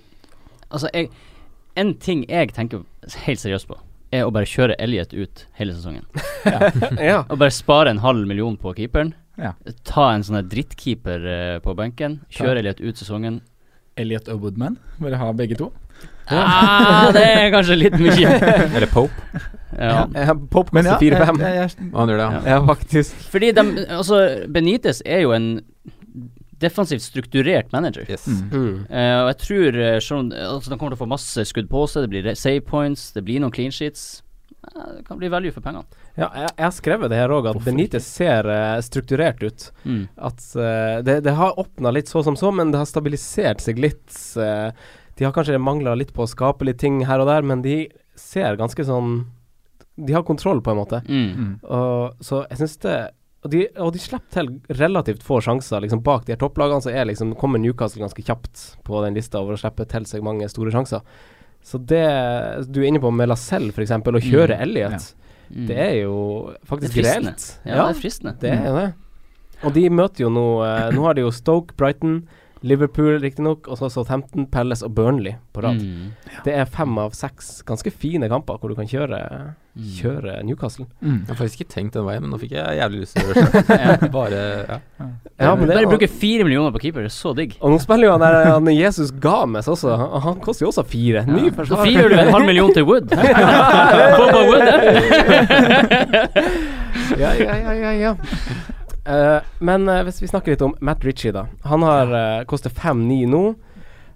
Altså, jeg, en ting jeg tenker helt seriøst på, er å bare kjøre Elliot ut hele sesongen.
ja.
Og bare spare en halv million på keeperen.
Ja.
Ta en sånn her drittkeeper eh, på benken. Kjøre Elliot ut sesongen.
Elliot og Woodman, bare ha begge to.
Ah, det er kanskje litt mye.
Eller Pope.
Ja.
Pop
Men ja,
koster 4-5.
jeg- jeg-
Og han gjør det, ja.
Ja, faktisk.
Fordi de, altså, Benitez er jo en defensivt strukturert manager.
Yes.
Mm.
Eh, og jeg tror eh, selv om altså, de kommer til å få masse skudd på seg, det blir re- save points, det blir noen clean sheets. Eh, det kan bli value for pengene.
Ja, jeg, jeg har skrevet det her òg, at Benitez ser eh, strukturert ut.
Mm.
At eh, det, det har åpna litt så som så, men det har stabilisert seg litt. eh, de har kanskje mangla litt på å skape litt ting her og der, men de ser ganske sånn De har kontroll, på en måte.
Mm.
Og, så jeg syns det og de, og de slipper til relativt få sjanser. Liksom Bak de her topplagene så er liksom, kommer Newcastle ganske kjapt på den lista over å slippe til seg mange store sjanser. Så det du er inne på med Lacelle, f.eks., å kjøre Elliot,
Mm.
det er jo faktisk
Det er fristende.
reelt.
Ja, det er fristende.
Det er jo det. Og de møter jo nå eh, Nå har de jo Stoke, Brighton, Liverpool riktignok, og så Southampton, Palace og Burnley på rad.
Mm.
Det er fem av seks ganske fine kamper hvor du kan kjøre,
Mm.
kjøre Newcastle.
Jeg har faktisk ikke tenkt den veien, men nå fikk jeg jævlig lyst til å gjøre det selv. Bare ja.
Ja, Eh, men det
Bare
og,
bruke fire millioner på keeper, det er så digg.
og nå spiller jo han der han Jesus Games også, han, han koster jo også fire. Ny
Da
forsvarer.
frigjør du en halv million til Wood. Boba Wood,
ja, ja, ja, ja, ja. Eh, men eh, hvis vi snakker litt om Matt Ritchie, da. Han har eh, koster 5-9 nå.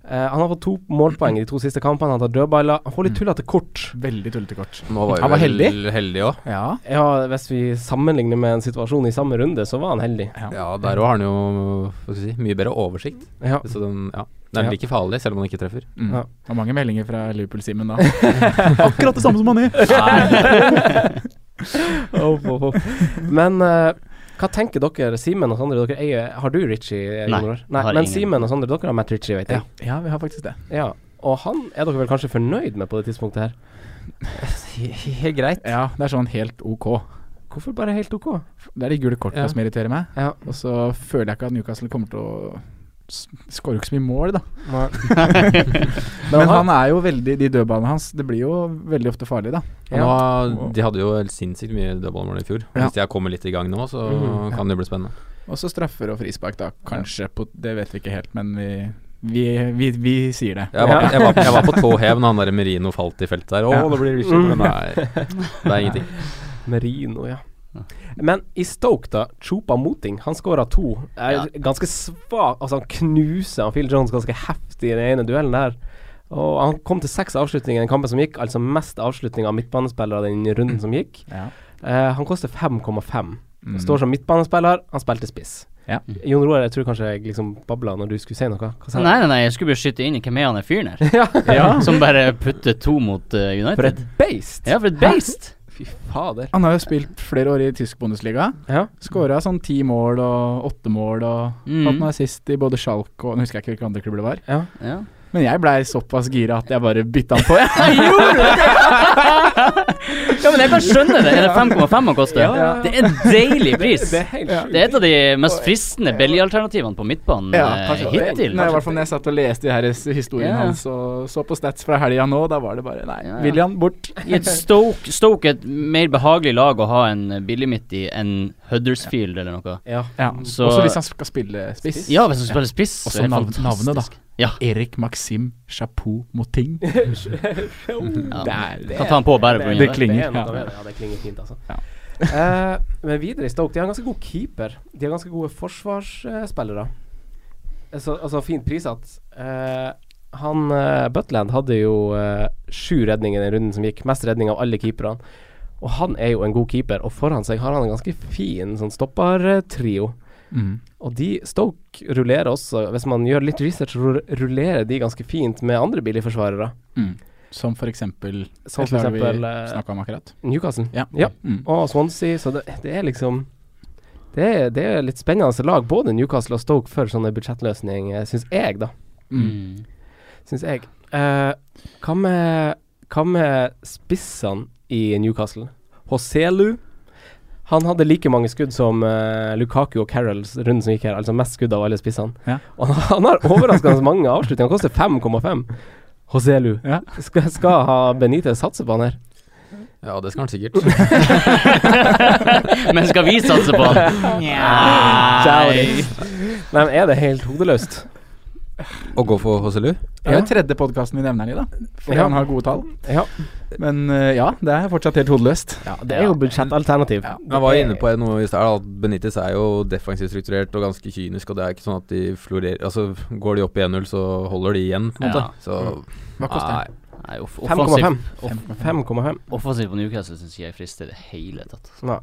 Eh, han har fått to målpoeng i de to siste kampene. Han tar dødballer. Han
Mm.
får litt tullete kort.
Veldig tullete kort.
Nå var jo
Han var
vel
heldig.
Heldig òg.
Ja.
Ja, hvis vi sammenligner med en situasjon i samme runde, så var han heldig.
Ja, der òg har han jo hva skal jeg si, mye bedre oversikt.
Ja.
Så den, ja. den
Ja.
blir ikke farlig, selv om han ikke treffer.
Mm.
Ja.
Det var mange meldinger fra Liverpool-Simen da. Akkurat det samme som Mané!
Men eh, hva tenker dere, Simen og Sondre? Dere eier, har du Ritchie? eh,
Nei,
Jonar?
jeg har
Nei men
ingen.
Simen og Sondre, dere har Matt Ritchie, vet
Ja.
jeg.
ja, vi har faktisk det.
Ja. Og han er dere vel kanskje fornøyd med på det tidspunktet her?
Helt greit.
Ja, Det er sånn helt ok.
Hvorfor bare helt ok?
Det er de gule kortene
Ja.
som irriterer meg.
Ja.
Og så føler jeg ikke at Newcastle kommer til å s- skårer jo ikke så mye mål, da.
Nei.
Men han er jo veldig De dødballene hans Det blir jo veldig ofte farlig, da.
Og Nå, de hadde jo helt sinnssykt mye dødballmål i fjor.
Ja.
Hvis jeg kommer litt i gang nå, så
Mhm.
kan det bli spennende.
Og så straffer og frispark, da. Kanskje på Det vet vi ikke helt, men vi, vi, vi, vi sier det.
Jeg var, jeg var, jeg var på tå hev når han der Merino falt i feltet der. Å,
Ja.
det blir ikke
Mm.
Nei, det er ingenting.
Merino, ja. Men i Stoke, da. Chopa Moting, han skåra to. Er Ganske svak Altså, han knuser han Phil Jones ganske heftig i den ene duellen der. Og han kom til seks avslutninger i den kampen som gikk, altså mest avslutning av midtbanespillere den runden som gikk. Eh, han koster 5,5.
Mm.
Står som midtbanespiller, han spilte spiss.
Ja.
Jon Roar, jeg tror kanskje jeg liksom babla når du skulle si noe. Hva sa du?
Nei, nei, nei, jeg skulle bare skyte inn i hvem er han er fyren her?
Ja.
Som bare putter to mot eh, United.
For et beist!
Ja, for et beist!
Fy fader.
Han har jo spilt flere år i tysk Bundesliga.
Ja.
Skåra sånn ti mål og åtte mål og
Mm.
hatt noe assist i både Schalke og Nå husker jeg ikke hvilke andre klubber det var.
Ja.
Ja.
Men jeg blei såpass gira at jeg bare bytta han på, jeg.
ja, men jeg kan skjønne det. Er det 5,5 han koster?
Ja, ja, ja.
Det er en deilig pris.
Det er helt sjukt.
Det er et av de mest fristende billigalternativene på midtbanen
Ja,
eh,
kanskje det.
hittil.
Nei, I hvert fall når jeg satt og leste de her s- historien
Ja.
hans og så på stats fra helga nå, da var det bare Nei,
Ja, ja.
William, bort.
I et Stoke, Stoke er et mer behagelig lag å ha en billig midt i enn Huddersfield eller noe.
Ja.
Ja.
Så-
Også hvis han skal spille spiss.
Ja, hvis han spiller spiss. så
Også
er det
navn,
fantastisk.
navnet, da.
Ja.
Erik Maxim Chapeau Moting.
Ja.
Der,
Kan ta han på bare
Det
på
er-
grunn av det.
klinger,
Det er noe
ja.
med det, ja, det klinger fint, altså.
Ja.
Eh, men videre i Stoke, de har en ganske god keeper. De har ganske gode forsvarsspillere. Eh, Så, altså fint prissatt. Eh, han eh, Butland hadde jo eh, sju redninger i den runden som gikk. Mest redning av alle keeperne. Og han er jo en god keeper, og foran seg har han en ganske fin sånn stoppertrio.
Mm.
Og de Stoke rullerer også, hvis man gjør litt research, rull- rullerer de ganske fint med andre billige forsvarere.
Mm. Som for eksempel
Som
et
for
lag vi
eksempel, eh,
snakket om akkurat.
Newcastle.
Ja.
ja.
Mm.
og Swansea, så det, det er liksom det er, det er litt spennende lag, både Newcastle og Stoke, for sånne budsjettløsning, eh, syns jeg, da.
Mm.
Syns jeg. Eh, hva med Hva med spissene i Newcastle? Hoselu. Han hadde like mange skudd som eh, Lukaku og Carrolls runden som gikk her, altså mest skudd av alle spissene.
Ja.
Og han, han har overraskende mange avslutninger. Han koster 5,5. Hoselu.
Ja.
Skal, skal ha Benitez satse på han her?
Ja, det skal han sikkert.
Men skal vi satse på han? Nei.
Nei, men er det helt hodeløst?
Å gå for HCLU?
Det er jo tredje podkasten vi nevner han i, da. For
Ja.
han har gode tall.
Ja.
Men eh, ja, det er fortsatt helt hodeløst.
Ja, det er jo budsjettalternativ.
Jeg var jo inne på noe i stad, at Benitez er jo defensivt strukturert og ganske kynisk, og det er ikke sånn at de florerer Altså, går de opp i 1-0, så holder de igjen, på en måte.
Ja.
Så
Hva koster han?
Nei, off- offensiv,
5,5. 5,5.
offensiv på Newcastle syns jeg frister i det hele tatt.
Nei.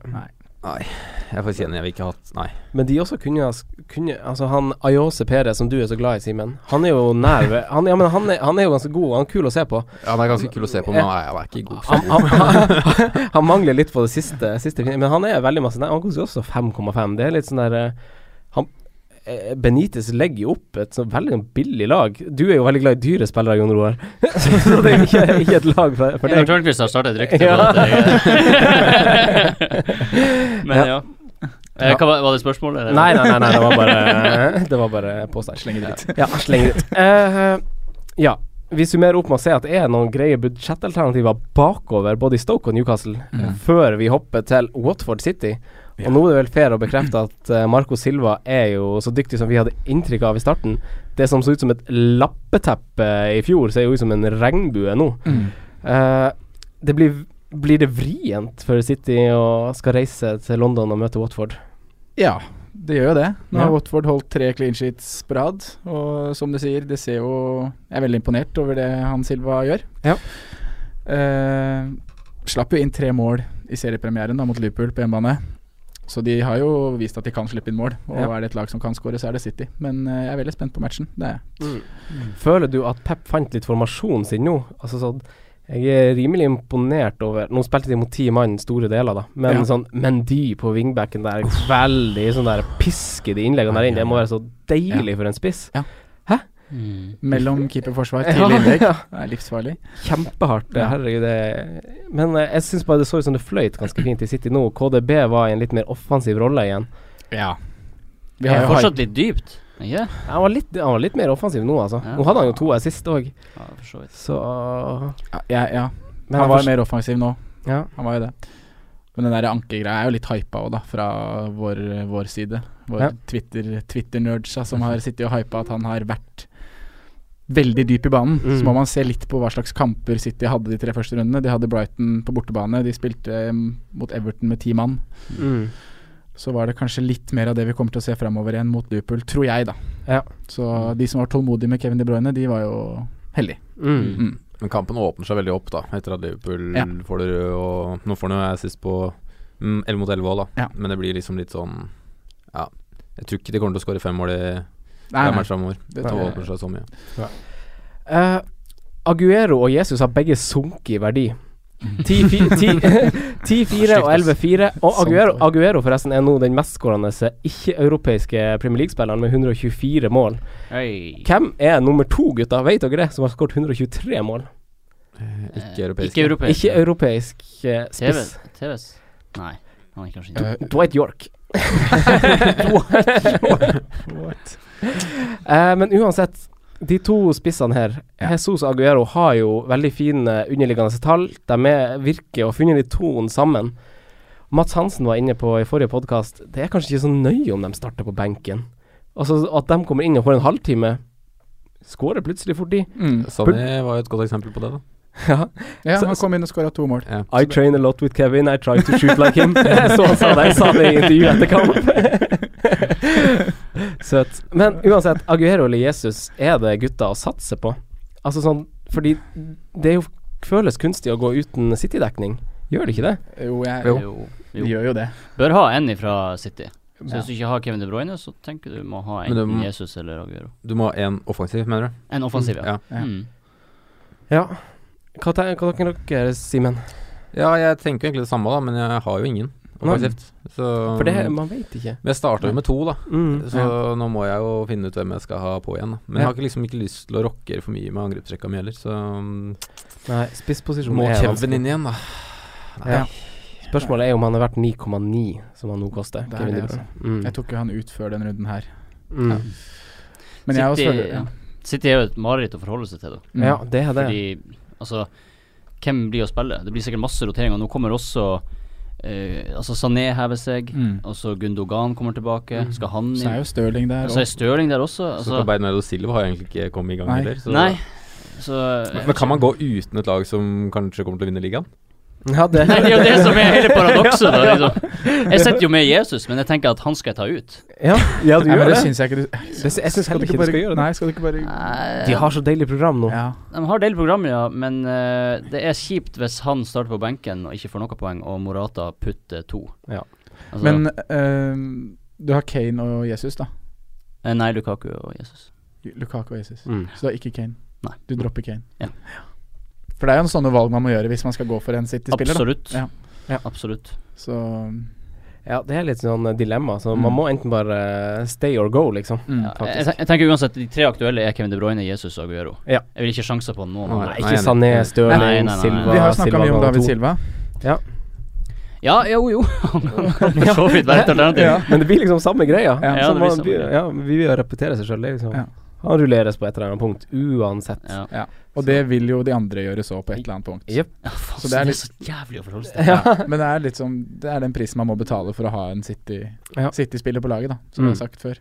jeg får kjenne jeg vil ikke ha hatt Nei.
Men de også kunne, ha s- kunne Altså, han Ayose Perez, som du er så glad i, Simen, han er jo nær ved han, ja, men han, er, han er jo ganske god, han er kul å se på.
Ja, det er ganske kul å se på, men han er, han er ikke god.
Han, han, han, han mangler litt på det siste, siste men han er veldig masse nær. Han koster jo også 5,5. Det er litt sånn der eh, han, eh, Benitez legger jo opp et så veldig sånn billig lag. Du er jo veldig glad i dyre spillere, Jon Roar, så det er jo ikke, ikke et lag for, for
Emil
deg.
Tørnquist har startet et rykte
Ja.
på at jeg Men ja. Eh, Hva var, var det spørsmålet? eller?
Nei, nei, nei, nei, det var bare Det var bare påstand.
Slenge dritt.
Ja, slenge dritt. Eh, ja. Vi summerer opp med å se at det er noen greie budsjettalternativer bakover både i Stoke og Newcastle, eh, før vi hopper til Watford City. Og nå er det vel fair å bekrefte at eh, Marco Silva er jo så dyktig som vi hadde inntrykk av i starten. Det som så ut som et lappeteppe eh, i fjor, ser jo ut som en regnbue nå. Eh, det blir, blir det vrient for City å skal reise til London og møte Watford?
Ja, det gjør jo det. Nå har
Ja.
Watford holdt tre clean sheets på rad. Og som du sier, det ser jo Jeg er veldig imponert over det han Silva gjør.
Ja.
Eh, slapp jo inn tre mål i seriepremieren da mot Liverpool på hjemmebane. Så de har jo vist at de kan slippe inn mål. Og
Ja.
er det et lag som kan skåre, så er det City. Men eh, jeg er veldig spent på matchen. Det er jeg.
Føler du at Pep fant litt formasjonen sin nå? Altså sånn jeg er rimelig imponert over Nå spilte de mot ti mann store deler, da. Men
Ja.
sånn Mendy på vingbacken der, veldig sånn der piske de innleggene der inn. Det må være så deilig for en spiss.
Mm.
Mellom keeperforsvar
Ja,
til innlegg.
ja.
Det er livsfarlig.
Kjempehardt. det,
Ja.
Herregud, det Men eh, jeg syns bare det så ut som det fløyt ganske fint i City nå. KDB var i en litt mer offensiv rolle igjen.
Ja. Vi
Det
har
er
jo hype.
fortsatt litt dypt.
Han var, litt, han var litt mer offensiv nå, altså.
Ja.
Nå hadde han jo to her sist òg.
Ja, for så vidt.
Så
Ja, ja.
Men
han
jeg
var
forst-
mer offensiv nå.
Ja.
Han var jo det. Men den der ankegreia er jo litt hypa òg, da, fra vår, vår side. Vår
Ja.
Twitter- Twitter-nerdsa som har sittet og hypa at han har vært veldig dyp i banen.
Mm.
Så må man se litt på hva slags kamper City hadde de tre første rundene. De hadde Brighton på bortebane, de spilte mm, mot Everton med ti mann.
Mm.
Så var det kanskje litt mer av det vi kommer til å se framover igjen mot Liverpool, tror jeg, da. Så de som var tålmodige med Kevin De Bruyne, de var jo heldige. Mm.
Men kampen åpner seg veldig opp, da, etter at Liverpool
Ja.
får det røde, og nå får han jo assist på mm, 11 mot 11 òg, da. Men det blir liksom litt sånn Ja. Jeg tror ikke de kommer til å skåre fem mål i
Nei, nei.
fem matcher framover.
Det
Det
tror jeg-
åpner seg så mye.
Eh, Aguero og Jesus har begge sunket i verdi. 10-4 10-4 og 11-4. Og Aguero, Aguero forresten er nå den mestskårende ikke-europeiske Premier League-spilleren med 124 mål.
Hei.
Hvem er nummer to, gutta? Vet dere det? Som har skåret 123 mål?
Ikke europeisk.
Ikke europeisk.
Ikke europeisk eh, spiss.
TV TVs? Nei, han er kanskje
Dw-
ikke
Dwight York. Eh, Dwight York. What? Eh, men uansett, de to spissene her, Jesus og Aguero, har jo veldig fine underliggende tall. De er, virker å ha funnet de toen sammen. Mats Hansen var inne på i forrige podkast, det er kanskje ikke så nøye om de starter på benken. Altså At de kommer inn og får en halvtime, skårer plutselig fort de.
Mm.
Sonny var jo et godt eksempel på det, da.
Ja.
Ja,
Så-
han kom inn og skåra to mål.
I train a lot with Kevin, I try to shoot like him. Så han sa det, jeg sa det i intervjuet etter kamp. Søt. Men uansett, Aguero eller Jesus, er det gutta å satse på? Altså sånn, fordi det er jo føles kunstig å gå uten City-dekning. Gjør det ikke det?
Jo, jeg
Jo.
gjør jo det.
Bør ha en ifra City. Så
Ja.
hvis du ikke har Kevin De Bruyne, så tenker du må ha
Men du
enten
må-
Jesus eller Aguero.
Du må ha én offensiv, mener du?
En offensiv, ja.
ja.
Mm.
Ja. Hva tenker dere, Simen?
Ja, jeg tenker egentlig det samme, da, men jeg har jo ingen.
Nei.
Offensivt. Så,
For det- man vet ikke.
Men jeg starta jo med to, da.
Mm.
så nå må jeg jo finne ut hvem jeg skal ha på igjen. Da. Men jeg har ikke liksom ikke lyst til å rockere for mye med angrepstrekka mi heller, så um,
Nei, spissposisjonen
Må
er vanskelig.
Kevin inn igjen, da. Nei.
Ja. Spørsmålet er om han er verdt 9,9, som han nå koster.
Det er
Kevin
det,
De
altså.
Bruyne. Mm.
Jeg tok jo han ut før den runden her.
Mm.
Ja. Men jeg også
City,
føler ja.
City er jo et mareritt å forholde seg til, da.
Mm. Ja,
det er det.
Fordi, altså, hvem blir å spille? Det blir sikkert masse roteringer. Nå kommer også eh, altså Sané hever seg,
Mm.
og så Gundogan kommer tilbake.
Mm.
Skal han
Så er jo Stirling der
Så
også.
er Stirling der også.
Så
Altså,
Bernardo Silva har egentlig ikke kommet i gang
Nei.
heller. Så.
Nei. Så
Men, men kan man gå uten et lag som kanskje kommer til å vinne ligaen?
Ja, det
Nei, det er jo det som er hele paradokset, da. Liksom. Jeg sitter jo med Jesus, men jeg tenker at han skal jeg ta ut.
Ja, ja du
Nei, men
gjør det.
det syns jeg ikke du
Det sy- jeg syns heller ikke du
bare,
skal gjøre det.
Nei, skal du ikke bare
De har så deilig program nå.
Ja.
De har delt program, ja, men eh, det er kjipt hvis han starter på benken og ikke får noe poeng, og Morata putter to.
Ja.
Altså,
Men eh, du har Kane og Jesus, da.
eh, Nei, Lukaku og Jesus.
Lukaku og Jesus.
Mm.
Så du har ikke Kane.
Nei.
Du dropper Kane.
Ja.
For det er jo en sånne valg man må gjøre hvis man skal gå for en City-spiller. da.
Absolutt.
Ja.
Absolutt.
Så
Ja, det er litt sånn eh, dilemma, så
Mm.
man må enten bare eh, stay or go, liksom.
mm.
Ja, jeg,
Faktisk.
jeg jeg tenker uansett de tre aktuelle er Kevin De Bruyne, Jesus og Aguero.
Ja.
Jeg vil ikke sjanse på noen.
Nei,
andre.
ikke Sané,
Nei,
Støling,
nei, nei, nei.
Silva
Vi har jo snakka mye om
Silva
David
to.
Silva.
Ja.
Ja, jo, jo. Han kan for så vidt være et alternativ.
Ja. Men det blir liksom samme greia.
Ja.
Ja,
Så
det blir
man
samme
blir-
greia.
ja, vi vil jo repetere seg sjøl, liksom.
Ja.
Han rulleres på et eller annet punkt uansett.
Ja.
Ja. Og det vil jo de andre gjøre så på et eller annet punkt.
Jep.
Ja, faen,
Så
så
det er
det er
litt-
så jævlig å forholde seg til.
Ja. Men det er litt som Det er den prisen man må betale for å ha en City-
Ja.
City-spiller på laget, da. Som jeg har sagt før.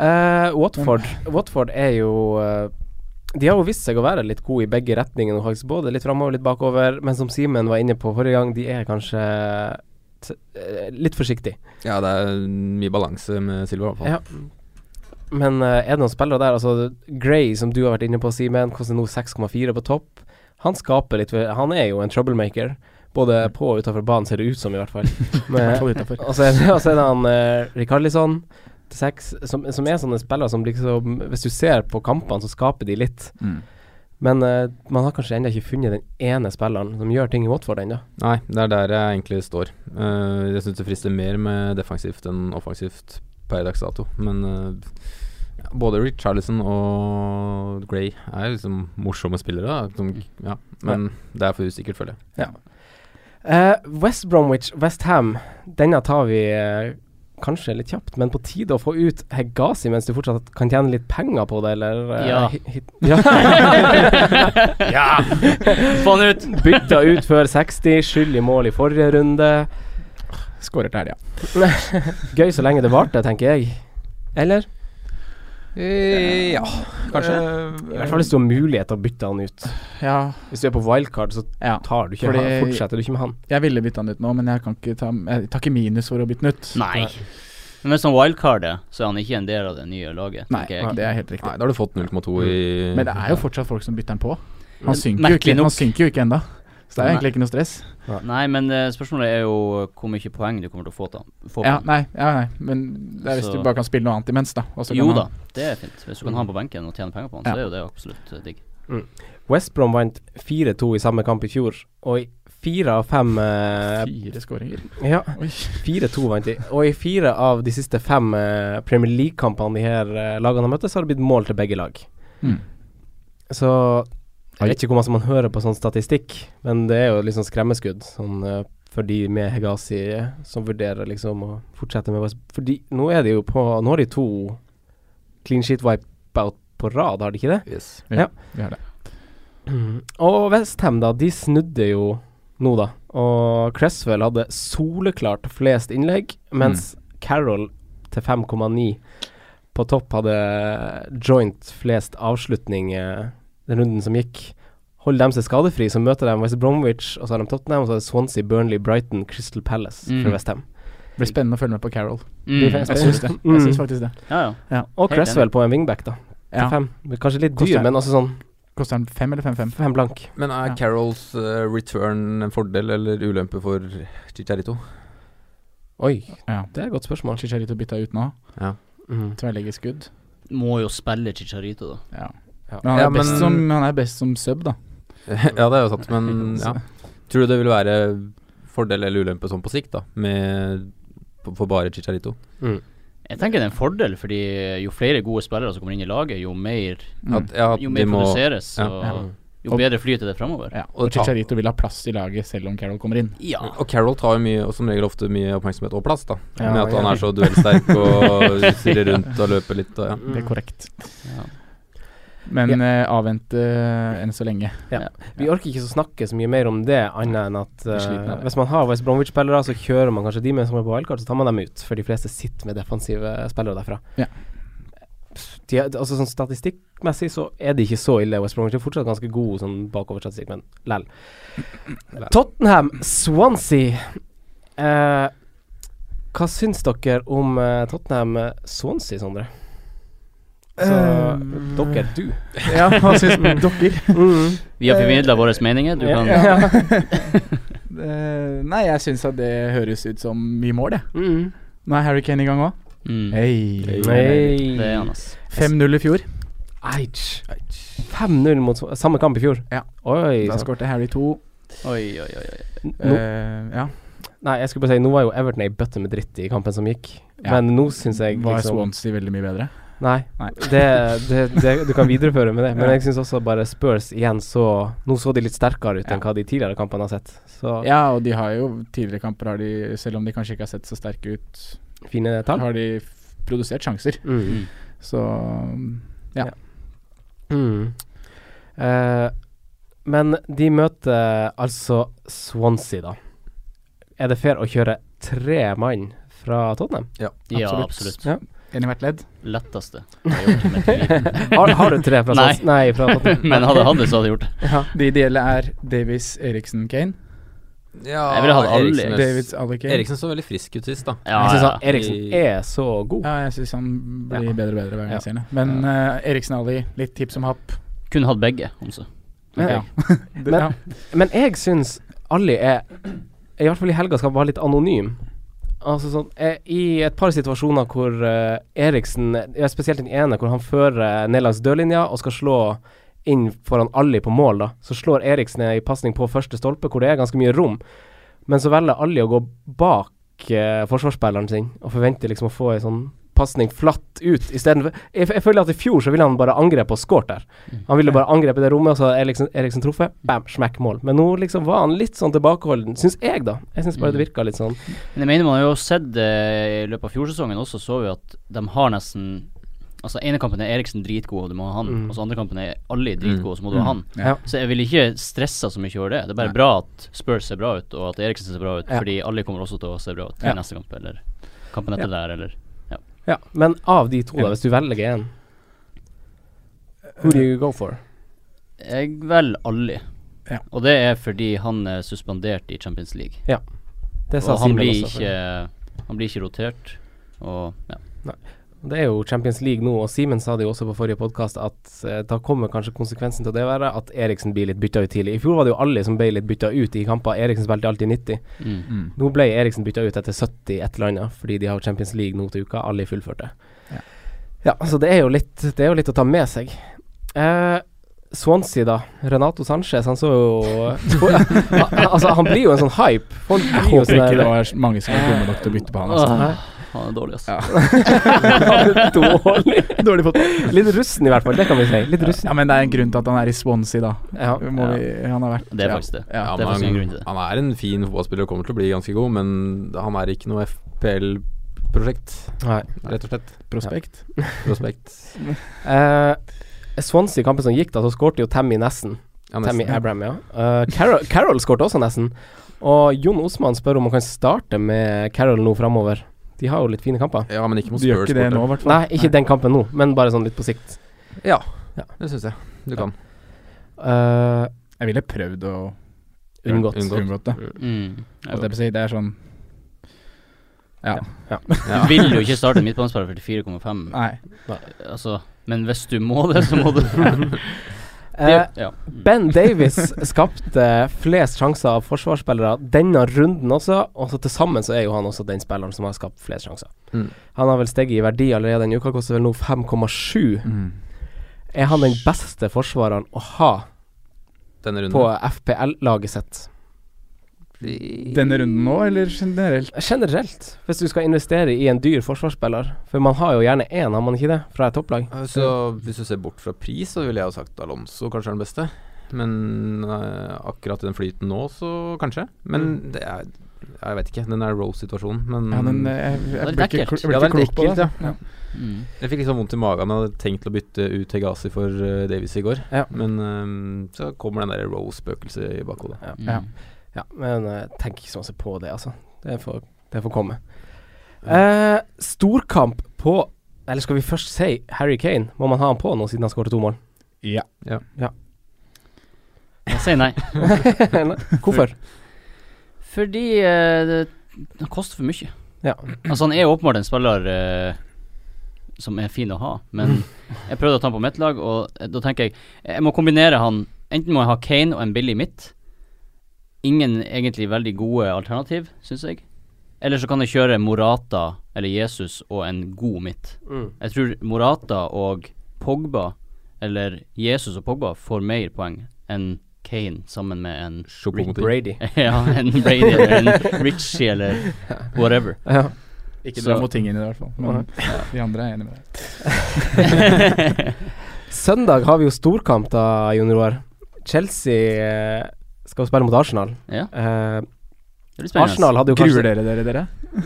Eh, Watford
Mm.
Watford er jo eh, De har jo vist seg å være litt gode i begge retningene, faktisk. Både litt framover, litt bakover. Men som Simen var inne på forrige gang, de er kanskje t eh, litt forsiktige.
Ja, det er mye balanse med Silva, i hvert fall.
Ja. Men eh, er det noen spillere der? Altså Gray, som du har vært inne på, Simen, koster nå 6,4 på topp. Han skaper litt Han er jo en troublemaker. Både på og utafor banen, ser det ut som, i hvert fall.
I hvert
Men-
fall utenfor.
og så er det, og så er det han eh, Rikarlison til seks, som, som er sånne spillere som liksom Hvis du ser på kampene, så skaper de litt.
Mm.
Men eh, man har kanskje ennå ikke funnet den ene spilleren som gjør ting i Watford ennå.
Nei, det er der jeg egentlig står. Eh, jeg syns det frister mer med defensivt enn offensivt per dags dato, men eh, ja, både Richarlison og Gray er liksom morsomme spillere, da. Som, ja. Men det er for usikkert, føler jeg.
Eh, West Bromwich, West Ham, denne tar vi eh, kanskje litt kjapt, men på tide å få ut Hegazi mens du fortsatt kan tjene litt penger på det, eller eh,
Ja.
hi- hit- ja.
Ja. Få han ut.
Bytta ut før 60, skyld i mål i forrige runde.
Skårer til helga.
Gøy så lenge det varte, tenker jeg. Eller?
Eh,
Ja, kanskje.
I hvert fall hvis du har mulighet til å bytte han ut.
Ja,
Hvis du er på wildcard, så
Ja,
tar du ikke
fordi-
han, fortsetter du ikke med han.
jeg ville bytte han ut nå, men jeg kan ikke ta Jeg tar ikke minus for å bytte den ut.
Nei. Men hvis han wildcarder, så er han ikke en del av det nye laget.
Nei,
tenker jeg. Mm.
det er helt riktig.
Nei, da har du fått 0,2 i
Men det er jo fortsatt folk som bytter den på. Han synker jo
merkelig
ikke,
nok.
han synker jo ikke ennå. Så det er jo
Nei.
egentlig ikke noe stress.
Nei, men eh, spørsmålet er jo hvor mye poeng du kommer til å få. Da. få
Ja,
på den.
nei, ja, nei. Men det er hvis
Så-
du bare kan spille noe annet imens, da. og så kan
jo
han-
da, det er fint. Hvis du kan ha han på benken og tjene penger på han,
Ja.
så er jo det absolutt eh, digg.
West Brom vant 4-2 i samme kamp i fjor, og i fire av fem eh,
Fire skåringer.
Ja,
Oi.
4-2 vant de. Og i fire av de siste fem eh, Premier League-kampene de her eh, lagene har møttes, har det blitt mål til begge lag.
Mm.
Så jeg vet ikke hvor mye man hører på sånn statistikk, men det er jo litt sånn skremmeskudd sånn, eh, for de med Hegazi eh, som vurderer liksom å fortsette med West Fordi nå er de jo på Nå har de to clean sheet wipe-out på rad, har de ikke det?
Yes.
Vi har det.
Og Westham, da, de snudde jo nå, da. Og Cresswell hadde soleklart flest innlegg, mens
Mm.
Carroll til 5,9 på topp hadde joint flest avslutning eh, den runden som gikk. Holder de seg skadefri, så møter de West Bromwich, og så har de Tottenham, og så er det Swansea, Burnley, Brighton, Crystal Palace
Mm.
for Westham.
Det blir spennende å følge med på Carol.
Mm.
fest.
Jeg syns det.
Mm.
Jeg synes faktisk det.
Ja, ja.
Og
Helt
Cresswell på en wingback, da. Til
Ja.
fem. Kanskje litt
Koster-
dyr, men altså sånn
Koster han fem eller fem-fem?
fem blank.
Men er
Ja.
Carols eh, return en fordel eller ulempe for Chicharito?
Oi,
Ja.
det er et godt spørsmål.
Chicharito bytta ut nå.
Mm.
Tverrleggerskudd.
Må jo spille Chicharito, da.
Ja.
Ja.
Men han er,
Ja,
best
men-
som, han er best som sub, da.
ja, det er jo sant, men ja. Tror du det vil være fordel eller ulempe sånn på sikt, da? Med på- for bare Chicharito?
Jeg tenker det er en fordel, fordi jo flere gode spillere som kommer inn i laget, jo mer,
Mm.
At, ja, at
jo
de
mer
må
produseres,
ja.
og jo bedre flyter det framover.
Ja.
Og
Og
ta-
Chicharito vil ha plass i laget selv om Carol kommer inn.
Ja.
Og Carol tar jo mye, og som regel ofte mye oppmerksomhet og plass, da.
Ja,
med at han
ja.
er så duellsterk og stirrer rundt og løper litt og ja.
Mm.
Det er korrekt.
Ja.
Men eh, avvente eh, enn så lenge.
Vi orker ikke så snakke så mye mer om det, annet enn at eh,
sliten av det.
hvis man har West Bromwich-spillere, så kjører man kanskje de med som er på wildcard, så tar man dem ut, for de fleste sitter med defensive spillere derfra.
Ja.
De, er- altså sånn Statistikkmessig så er de ikke så ille. West Bromwich er fortsatt ganske god sånn bakoverstatistikk, men lell. Tottenham, Swansea. Eh, hva syns dere om eh, Tottenham eh, Swansea, Sondre? Så,
Um.
dere, du.
Ja, hva syns dere?
Vi har formidla våre meninger. Du kan
Eh, nei, jeg syns at det høres ut som mye mål, jeg.
Mm.
Nå er Harry Kane i gang òg.
mm. Det er han, ass.
5-0 i fjor.
Eich. 5-0 mot Sv- samme kamp i fjor.
Ja.
Oi.
Da
sant.
skårte Harry to.
Oi, oi, oi. oi.
Nå,
Eh, ja.
nei, jeg skulle bare si, nå var jo Everton ei bøtte med dritt i kampen som gikk.
Ja.
Men nå syns jeg
Var
liksom
Swansea veldig mye bedre?
Nei,
Nei.
det, det, det, du kan videreføre med det. Men
Ja.
jeg syns også bare Spurs igjen så Nå så de litt sterkere ut
Ja.
enn hva de tidligere kampene har sett. Så
Ja, og de har jo tidligere kamper, har de, selv om de kanskje ikke har sett så sterke ut,
fine tall.
har de f- produsert sjanser.
Mm.
Så mm, ja.
Ja. Mm. Eh, men de møter altså Swansea, da. Er det fair å kjøre tre mann fra Tottenham?
Ja, absolutt.
Ja.
En i hvert ledd.
Letteste. jeg har gjort i mitt liv.
Har, har du tre fra
Nei.
Swansea? Nei. fra Tottenham.
Men hadde jeg hatt det, så hadde jeg gjort det.
De ideelle er Davies, Eriksen, Kane.
ja
Jeg ville hatt alle.
Eriksen, er-
Davids, alle Kane.
Eriksen så veldig frisk ut sist, da.
Ja,
Jeg synes
ja.
han Eriksen er så god.
Ja, jeg syns han blir
Ja.
bedre og bedre hver gang
Ja.
jeg ser ham. Men eh, Eriksen Ali, litt hipp som happ.
Kunne hatt begge, altså. om så.
Men,
Ja. Det,
Men-
ja.
men jeg syns Ali er I hvert fall i helga skal han være litt anonym. Altså sånn eh, I et par situasjoner hvor eh, Eriksen ja, Spesielt den ene hvor han fører ned langs dørlinja og skal slå inn foran Ali på mål, da. Så slår Eriksen en pasning på første stolpe hvor det er ganske mye rom. Men så velger Ali å gå bak eh, forsvarsspilleren sin og forventer liksom å få ei sånn pasning flatt ut istedenfor jeg, jeg føler at i fjor så ville han bare angrepe og skåret der. Han ville bare angrepe det rommet, og så er Eriksen, Eriksen truffet. Bam, smekk, mål. Men nå liksom var han litt sånn tilbakeholden, syns jeg, da. Jeg syns bare
Mm.
det virka litt sånn.
Men jeg mener man har jo sett eh, i løpet av fjorsesongen også, så vi at de har nesten Altså ene kampen er Eriksen dritgod, og du må ha han.
Mm.
Og så andre kampen er alle dritgode, og så må du
Mm.
ha han.
Ja.
Så jeg vil ikke stresse så mye over det. Det er bare bra at Spurs ser bra ut, og at Eriksen ser bra ut,
Ja.
fordi alle kommer også til å se bra ut i
Ja.
neste kamp, eller kampen etter der, eller Ja.
Ja, men av de to, da, hvis du velger en Who do you go for?
Jeg velger Ali.
Ja.
Og det er fordi han er suspendert i Champions League.
Ja. Det sa
og han
Simen
blir,
også,
ikke, han blir ikke rotert, og ja.
Det er jo Champions League nå, og Simen sa det jo også på forrige podkast, at eh, da kommer kanskje konsekvensen til det å være at Eriksen blir litt bytta ut tidlig. I fjor var det jo alle som ble litt bytta ut i kamper. Eriksen spilte alltid 90.
Mm.
Mm.
Nå ble Eriksen bytta ut etter 70 et eller annet, fordi de har Champions League nå til uka. Alle fullførte.
Ja.
Ja, så det er jo litt, det er jo litt å ta med seg. Eh, Swansea, da. Renato Sanchez, han så jo Altså, han blir jo en sånn hype. Folk blir
Jeg
jo
håper ikke
sånn
det
der-
var mange som var dumme nok til å bytte på han. Altså.
Nei.
Han er dårlig, altså. ass.
Dårlig.
Dårlig fotball.
Litt rusten, i hvert fall. Det kan vi si. Litt rusten.
Ja, men det er en grunn til at han er i Swansea, da.
Ja.
Må vi, han har vært
Det er
ja.
faktisk det.
Ja.
det er faktisk en grunn
han,
til det.
han er en fin fotballspiller og kommer til å bli ganske god, men han er ikke noe FPL-prosjekt,
Nei.
rett og slett.
Prospekt.
Prospekt.
Eh, Swansea, kampen som gikk da, så skårte jo Tammy nesten.
Ja,
Tammy
nesten.
Abraham, ja. Eh, Carol, Carol skårte også nesten. Og Jon Osman spør om han kan starte med Carol nå framover. De har jo litt fine kamper.
ja, men ikke mot
Du gjør
Spurs.
ikke det nå,
borte.
i hvert fall.
Nei, ikke den kampen nå, men bare sånn litt på sikt.
Ja,
Ja.
det syns jeg. Du kan.
Eh,
Jeg ville prøvd å
unngått.
Unngått.
unngått det.
Mm.
Altså, det, vil si, det er sånn Ja.
Du vil jo ikke starte en midtbanespiller for 4,5,
Nei.
altså, men hvis du må det, så må du
Eh,
ja.
ben Davies skapte flest sjanser av forsvarsspillere denne runden også, og så til sammen så er jo han også den spilleren som har skapt flest sjanser.
Mm.
Han har vel steget i verdi allerede denne uka, koster vel nå 5,7.
Mm.
Er han den beste forsvareren å ha
Denne runden.
på FPL-laget sitt?
Denne runden nå, eller generelt?
Generelt, hvis du skal investere i en dyr forsvarsspiller, for man har jo gjerne én, har man ikke det, fra et topplag?
Så hvis du ser bort fra pris, så ville jeg jo sagt Alonso kanskje er den beste. Men eh, akkurat i den flyten nå, så kanskje. Men det er Jeg vet ikke. Den der Rose-situasjonen. Men
Mm. Ja, den, eh, jeg, jeg,
litt
ble ikke,
ekkelt.
kl- jeg ble
Ja, det er litt
ikke klok på
ekkelt,
det.
ja.
Ja.
Mm.
jeg fikk liksom vondt i magen. Jeg hadde tenkt å bytte ut Hegazi for eh, Davies i går.
Ja.
Men eh, så kommer den der Rose-spøkelset i bakhodet.
Mm.
Ja.
Ja, men eh, tenk ikke så masse på det, altså. Det får, det får komme. Eh, storkamp på Eller skal vi først si Harry Kane? Må man ha han på nå siden han skåret to mål?
Ja.
Jeg sier nei.
Nei, Hvorfor?
Fordi eh, det, det koster for mye.
Ja.
Altså, han er jo åpenbart en spiller eh, som er fin å ha, men jeg prøvde å ta han på mitt lag, og eh, da tenker jeg Jeg må kombinere han Enten må jeg ha Kane og en billig midt. Ingen egentlig veldig gode alternativ, syns jeg. Eller så kan jeg kjøre Morata eller Jesus og en god midt.
Mm.
Jeg tror Morata og Pogba, eller Jesus og Pogba, får mer poeng enn Kane sammen med en
Sjokomotiv.
Brady.
ja, en Brady eller en Richie eller whatever.
Ja.
Ikke
Så-
dra mot tingen i det, i hvert fall. Men de andre er enig med deg.
Søndag har vi jo storkamp, da, Jon Roar. Chelsea eh, skal spille mot Arsenal.
Ja,
Eh,
det blir spennende.
Arsenal hadde jo
Gruer
kanskje
dere dere, dere?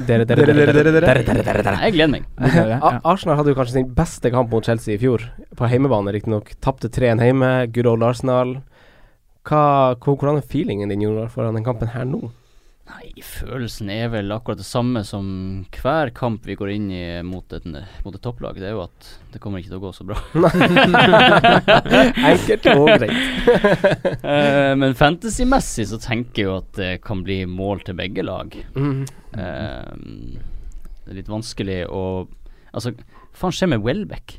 Dere, dere, dere, dere, dere, dere, dere, dere, dere.
Nei, Jeg gleder meg.
Gruer dere?
A- Arsenal hadde jo kanskje sin beste kamp mot Chelsea i fjor, på heimebane riktignok. Tapte 3-1 hjemme, good old Arsenal. Hva, hvor- hvordan er feelingen din Jon Roar, foran den kampen her nå?
Nei, følelsen er vel akkurat det samme som hver kamp vi går inn i mot et, mot et topplag. Det er jo at det kommer ikke til å gå så bra.
Enkelt og greit.
Eh, men fantasymessig så tenker jeg jo at det kan bli mål til begge lag.
Mm.
Eh, det er litt vanskelig å Altså, hva faen skjer med Welbeck?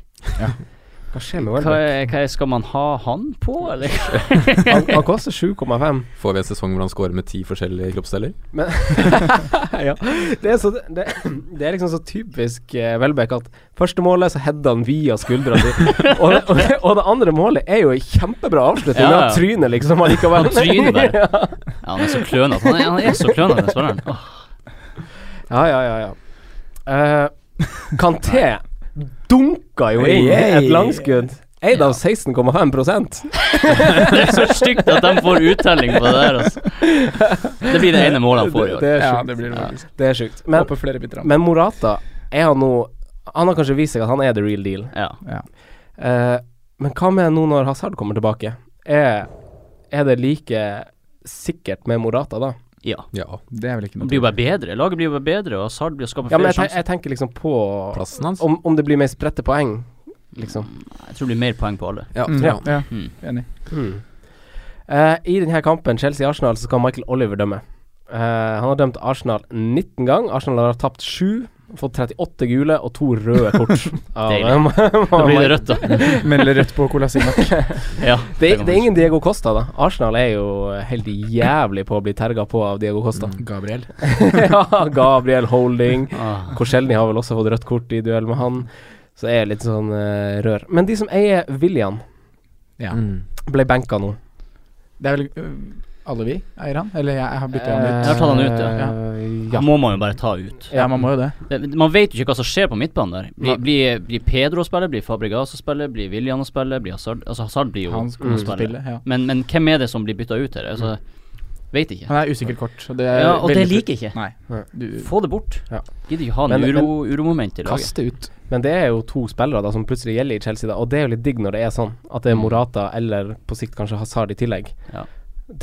Hva skjer med
Hva,
Welbeck?
er- hva er- skal man ha han på, eller?
Han, han koster 7,5.
Får vi en sesong hvor han scorer med ti forskjellige kroppsdeler?
ja. det, er så, det, det er liksom så typisk eh, Welbeck at første målet så header han via skuldra si, og, det- og, det- og det andre målet er jo en kjempebra avslutning.
Ja,
Ja,
ja.
ja. Trynet liksom allikevel.
Han tryner bare. Ja, han er så klønete. Han, er- han er så klønete, den spilleren. Åh.
Ja, ja, ja. ja. Eh, Kanté dunka jo inn et langskudd. Eid av 16,5
Det er så stygt at de får uttelling på det der, altså. Det blir det ene målet han får i år.
Det, det er sjukt.
Ja, det blir det faktisk.
Det er sjukt. Men,
Håper flere biter av.
men Morata, er han nå Han har kanskje vist seg at han er the real deal.
Ja.
Eh, men hva med nå når Hazard kommer tilbake? Er, er det like sikkert med Morata da?
Ja.
Det er vel ikke
Det
noe
blir jo bare bedre. Laget blir jo bare bedre, og Hazard blir å skape
Ja, men
flere
jeg, ten-
sjanser.
jeg tenker liksom på
Plassen hans?
om, om det blir mer spredte poeng, liksom.
Jeg tror det blir mer poeng på alle.
Ja,
Ja.
Ja,
Mm.
enig.
Eh, I denne kampen, Chelsea-Arsenal, så skal Michael Oliver dømme. Eh, han har dømt Arsenal 19 ganger. Arsenal har tapt 7, fått 38 gule og to røde kort. Av-
Deilig. Da blir det rødt, da.
Melder rødt på Kolasinac.
Ja,
Det,
kan
det er
man
ingen Diego Costa, da. Arsenal er jo helt jævlig på å bli terga på av Diego Costa.
Mm.
Gabriel.
ja, Gabriel Holding.
si. Ah.
Korselny har vel også fått rødt kort i duell med han. Så er jeg litt sånn eh, rør. Men de som eier William,
Ja.
Mm.
ble benka nå.
Det er vel øh, alle vi eier han? Eller jeg, jeg har bytta han
Jeg har
ut.
tatt han ut, ja.
ja.
Må man jo bare ta ut.
Ja, man må jo det.
Det, man vet jo ikke hva som skjer på midtbanen der. Blir,
Nei.
blir, blir Pedro å spille, blir Fabregas å spille, blir William å spille, blir Hazard Altså, Hazard blir jo
Han
å
kommer til å
spille.
spille. Ja.
Men, men hvem er det som blir bytta ut her?
Mm.
Altså, vet ikke.
Han er usikkert kort. Og det er
Ja, og det
veldig
liker jeg ikke.
Nei. Du
Få det bort.
Ja.
Gidder ikke ha
Men-
en uro, uromoment i laget.
kast det ut.
Men det er jo to spillere da som plutselig gjelder i Chelsea, da og det er jo litt digg når det er sånn. At det er Morata eller på sikt kanskje Hazard i tillegg.
Mm. Ja.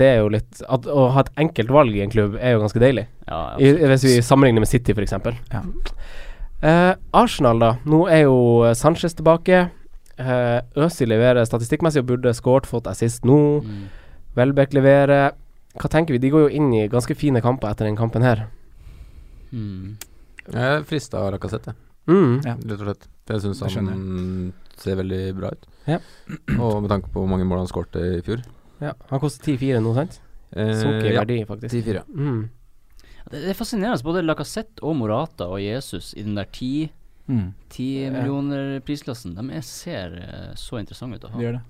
Det er jo litt at, Å ha et enkelt valg i en klubb er jo ganske deilig.
Ja,
I,
ja.
hvis vi sammenligner med City, f.eks.
Ja.
Eh, Arsenal, da. Nå er jo eh, Sanchez tilbake. Eh, Øzil leverer statistikkmessig og burde skåret, fått assist nå.
Mm.
Welbeck leverer. Hva tenker vi? De går jo inn i ganske fine kamper etter den kampen her.
Mm.
Jeg frista av Lacassette,
Mm.
Ja.
rett og slett. Jeg syns
Det
han ser veldig bra ut.
Ja.
Og med tanke på hvor mange mål han skårte i fjor.
Ja. Han koster 10-4 nå, sant?
Eh,
Sunket i
ja,
verdi, faktisk.
10-4.
Mm.
Det, det er fascinerende. Både Lacassette og Morata og Jesus i den der ti
Mm.
Ti millioner prisklassen. De er, ser eh, så interessante ut å
Det
ha.
gjør det.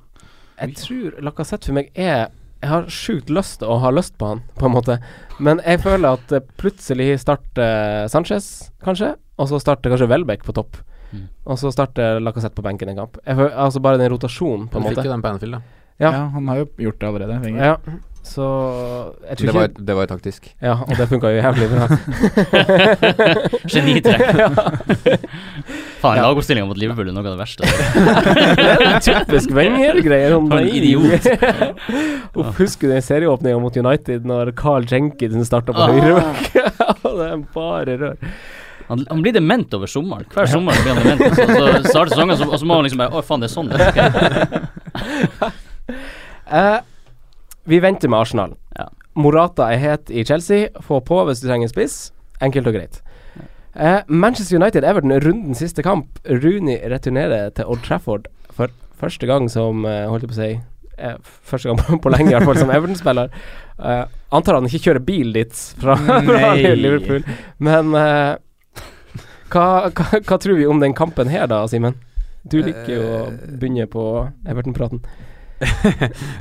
Jeg tror Lacassette for meg er Jeg har sjukt lyst til å ha lyst på han, på en måte. Men jeg føler at eh, plutselig starter eh, Sanchez, kanskje. Og så starter kanskje Welbeck på topp.
Mm.
Og så starter Lacassette på benken en kamp. Jeg føler, altså bare den rotasjonen, på en
Han fikk
måte.
jo den på Anfield, da.
Ja.
Ja. han har jo gjort det allerede. Wenger.
Ja, så jeg tror
Det var,
ikke
det var jo taktisk.
Ja, og det funka jo jævlig bra.
Genitrekk. Faen, lagoppstillinga mot Liverpool er noe av det verste.
Det er typisk Wenger-greier. Han
For en
nei.
idiot.
Uff, husker du den serieåpninga mot United når Carl Jenkinson starta på
Ah.
høyrebekk? Og det er bare rør.
Han, han blir dement over sommeren. Hver sommer blir han dement. Så, så starter sesongen, så, og så må han liksom bare Å, faen, det er sånn. det er. Ok.
Eh, vi venter med Arsenal.
Ja.
Morata er het i Chelsea. Få på hvis du trenger en spiss. Enkelt og greit. Eh, Manchester United Everton runden siste kamp. Rooney returnerer til Old Trafford for første gang som eh, Holdt jeg på å si eh, f- Første gang på- på lenge, i hvert fall, som Everton-spiller. Eh, antar han ikke kjører bil dit fra, fra
Nei.
Liverpool. Men eh, hva, hva, hva tror vi om den kampen her, da, Simen? Du liker jo å begynne på Everton-praten.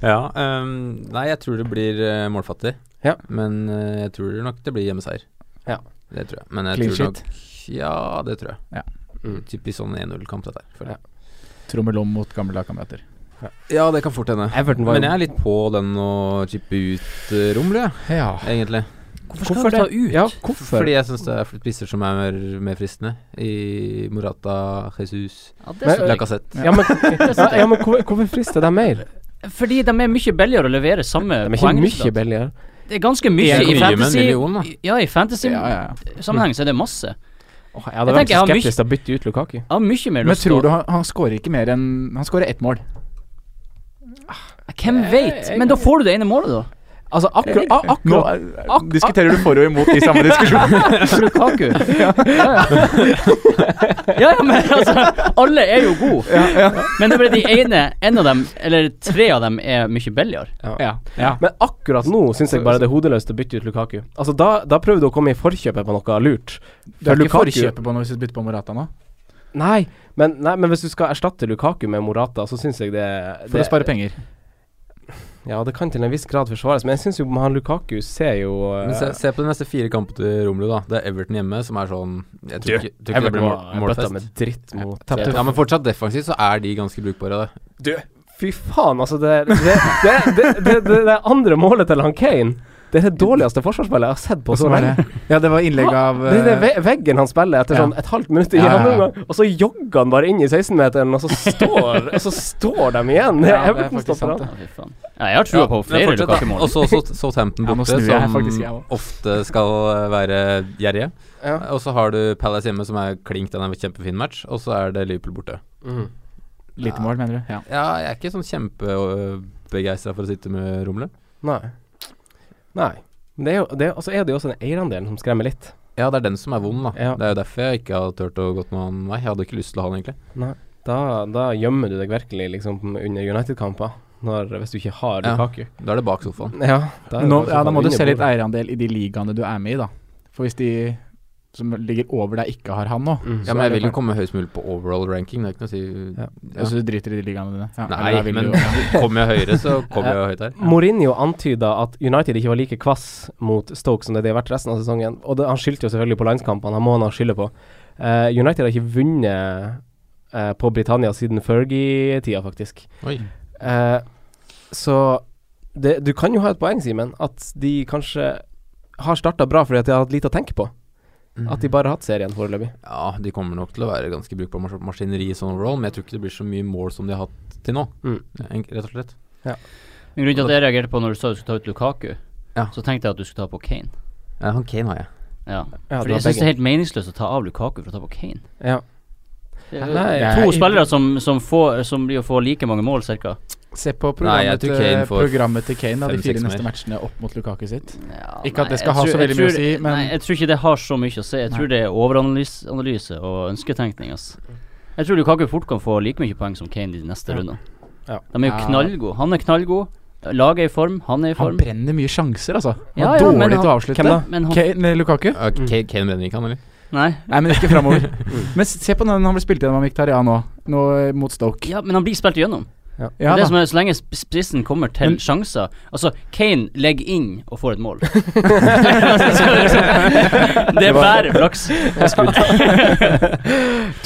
Ja, ehm, nei, jeg tror det blir eh, målfattig.
Ja.
Men eh, jeg tror nok det blir hjemmeseier.
Ja.
Det tror jeg. Men jeg
Clean
tror
sheet.
nok Ja, det tror jeg.
Ja.
Mm.
Typisk sånn 1-0-kamp, dette her. føler jeg.
Trommelom mot gamle lagkamerater.
Ja, det kan fort hende.
Everton var
Men
jo-
jeg er litt på den å chippe ut eh, Romelu, jeg,
Ja.
egentlig.
Hvorfor skal du ta ut?
Ja, hvorfor?
Fordi jeg syns det er spisser som er mer, mer fristende. I Morata, Jesus,
Ja, det er sånn.
Lacassette.
Ja, men, ja, ja, men hvor- hvorfor frister de mer?
Fordi de er mye billigere å levere samme
De er ikke mye
poengresultat.
billigere.
Det er ganske mye
Det er
i
mye med en
fantasy.
million, da.
Ja, i fantasy
Ja, ja, ja.
sammenheng så er det masse.
Åh, jeg hadde
Jeg
vært
tenker jeg
så
har mye-
skeptisk til å bytte ut Lukaku.
Jeg har mye mer
Men
lyst til
tror
å
du han, han skårer ikke mer enn Han skårer ett mål.
Hvem vet? Men da får du det ene målet, da.
Altså, akkurat akkur
eh, diskuterer du for og imot i samme diskusjon.
Lukaku. Ja, ja. ja, ja, men altså Alle er jo gode. Men det er bare de ene En av dem, eller tre av dem, er mye billigere.
ja. ja.
Men akkurat nå syns jeg bare det er hodeløst å bytte ut Lukaku. Altså, da, da prøver du å komme i forkjøpet på noe lurt.
Du er ikke
Lukaku-
forkjøpet på noe hvis du bytter på Morata nå?
Nei men, nei, men hvis du skal erstatte Lukaku med Morata, så syns jeg det, det
For å spare penger.
Ja, det kan til en viss grad forsvares, men jeg syns jo han Lukaku ser jo eh,
Men se, se på de neste fire kampene til Romelu, da. Det er Everton hjemme, som er sånn Jeg tror
Du,
ikke, tror ikke det
Everton
blir mål,
var- eh, bøtta
målfest.
med dritt mot-
Ja, ja, men fortsatt defensivt så er de ganske brukbare, det.
Du, fy faen, altså. Det, det, det, det, det, det, det andre målet til han Kane Det er det dårligste forsvarsspillet jeg har sett på
Og så
så
var
lenge.
det Ja, det var innlegg av
Det er det
eh,
ve veggen han spiller etter
Ja.
sånn et halvt minutt igjen,
Ja, ja, ja.
noen gang, og så jogger han bare inn i 16-meteren, og så står, og så står de igjen.
Ja, det er
Everton
faktisk
stopper
sant,
han.
Fy faen. Ja, jeg har trua på
men
flere
fortsatt, da.
Lukaku-mål.
Og så så- Southampton
Ja, nå
borte,
snur jeg
som
faktisk, jeg også.
ofte skal eh, være gjerrige.
Ja.
Og så har du Palace hjemme, som er klink, den er en kjempefin match. Og så er det Liverpool borte.
Lite mål, mener du? Ja.
Ja, jeg er ikke sånn kjempebegeistra for å sitte med Romelu.
Nei. Nei. Men Det er jo, det er, og så er det jo også den eierandelen som skremmer litt.
Ja, det er den som er vond, da.
Ja.
Det er jo derfor jeg ikke har turt å gått med han. Nei, jeg hadde ikke lyst til å ha han, egentlig.
Nei. Da, da gjemmer du deg virkelig liksom under United-kamper, når- hvis du ikke har
Ja.
Lukaku.
Da er det bak sofaen.
Ja, da, er det
Nå,
bare
ja, da må
sofaen
du se
under
litt
bordet.
eierandel i de ligaene du er med i, da. For hvis de som ligger over deg, ikke har han nå
Mm.
Ja, men jeg vil jo komme høyest mulig på overall ranking, det er ikke noe å si
Ja.
Ja.
Så du driter i de ligaene dine? Ja,
Nei,
eller da vil
men
du jo-
kommer jeg høyere, så kommer jeg høyt her.
Mourinho antyda at United ikke var like kvass mot Stoke som det de har vært resten av sesongen. Og det, han skyldte jo selvfølgelig på landskampene, han må han ha skylda på. Eh, United har ikke vunnet eh, på Britannia siden Fergie-tida, faktisk.
Oi.
Eh, så det, du kan jo ha et poeng, Simen, at de kanskje har starta bra fordi at de har hatt lite å tenke på. At
Mm.
de bare har hatt serien foreløpig.
Ja, de kommer nok til å være ganske brukbar mas maskineri sånn overall, men jeg tror ikke det blir så mye mål som de har hatt til nå,
Mm.
en- rett og slett.
Men Grunnen til at jeg reagerte på når du sa du skulle ta ut Lukaku,
Ja.
så tenkte jeg at du skulle ta på Kane.
Ja, han Kane har jeg.
Ja.
Ja,
Fordi jeg syns det er helt meningsløst å ta av Lukaku for å ta på Kane.
Ja.
Det
Nei,
er
jeg-
to spillere som, som, får, som blir å få like mange mål, cirka.
Se på
Nei, jeg
programmet,
tror Kane
til-
får
programmet til Kane, da, de
fem, seks
fire neste
mer.
matchene opp mot Lukaku sitt.
Ja,
Ikke at
nei,
det skal
jeg
ha
tror-
så veldig
jeg
mye å
tror-
si, men-
Nei, jeg tror ikke det har så mye å si. Jeg tror
Nei.
det er overanalyse analyse og ønsketenkning, ass. Jeg tror Lukaku fort kan få like mye poeng som Kane i de neste rundene.
Ja.
De er jo
Ja.
knallgode. Han er knallgod. Laget er i form, han er i
Han
form.
brenner mye sjanser, altså. Han
Ja,
er
ja,
dårlig
men
til å
han-
avslutte.
hvem da? Men han-
Kane, eh, Lukaku?
Ja, Kane, Kane brenner ikke, han heller.
Nei.
Nei, men ikke framover.
Mm.
men se på den han ble spilt gjennom av Mkhitaryan nå, nå eh, mot Stoke.
Ja, men han blir spilt igjennom.
Ja,
det
da.
som er, så lenge sp- spissen kommer til
Men-
sjanser Altså, Kane legger inn og får et mål. det er bare flaks.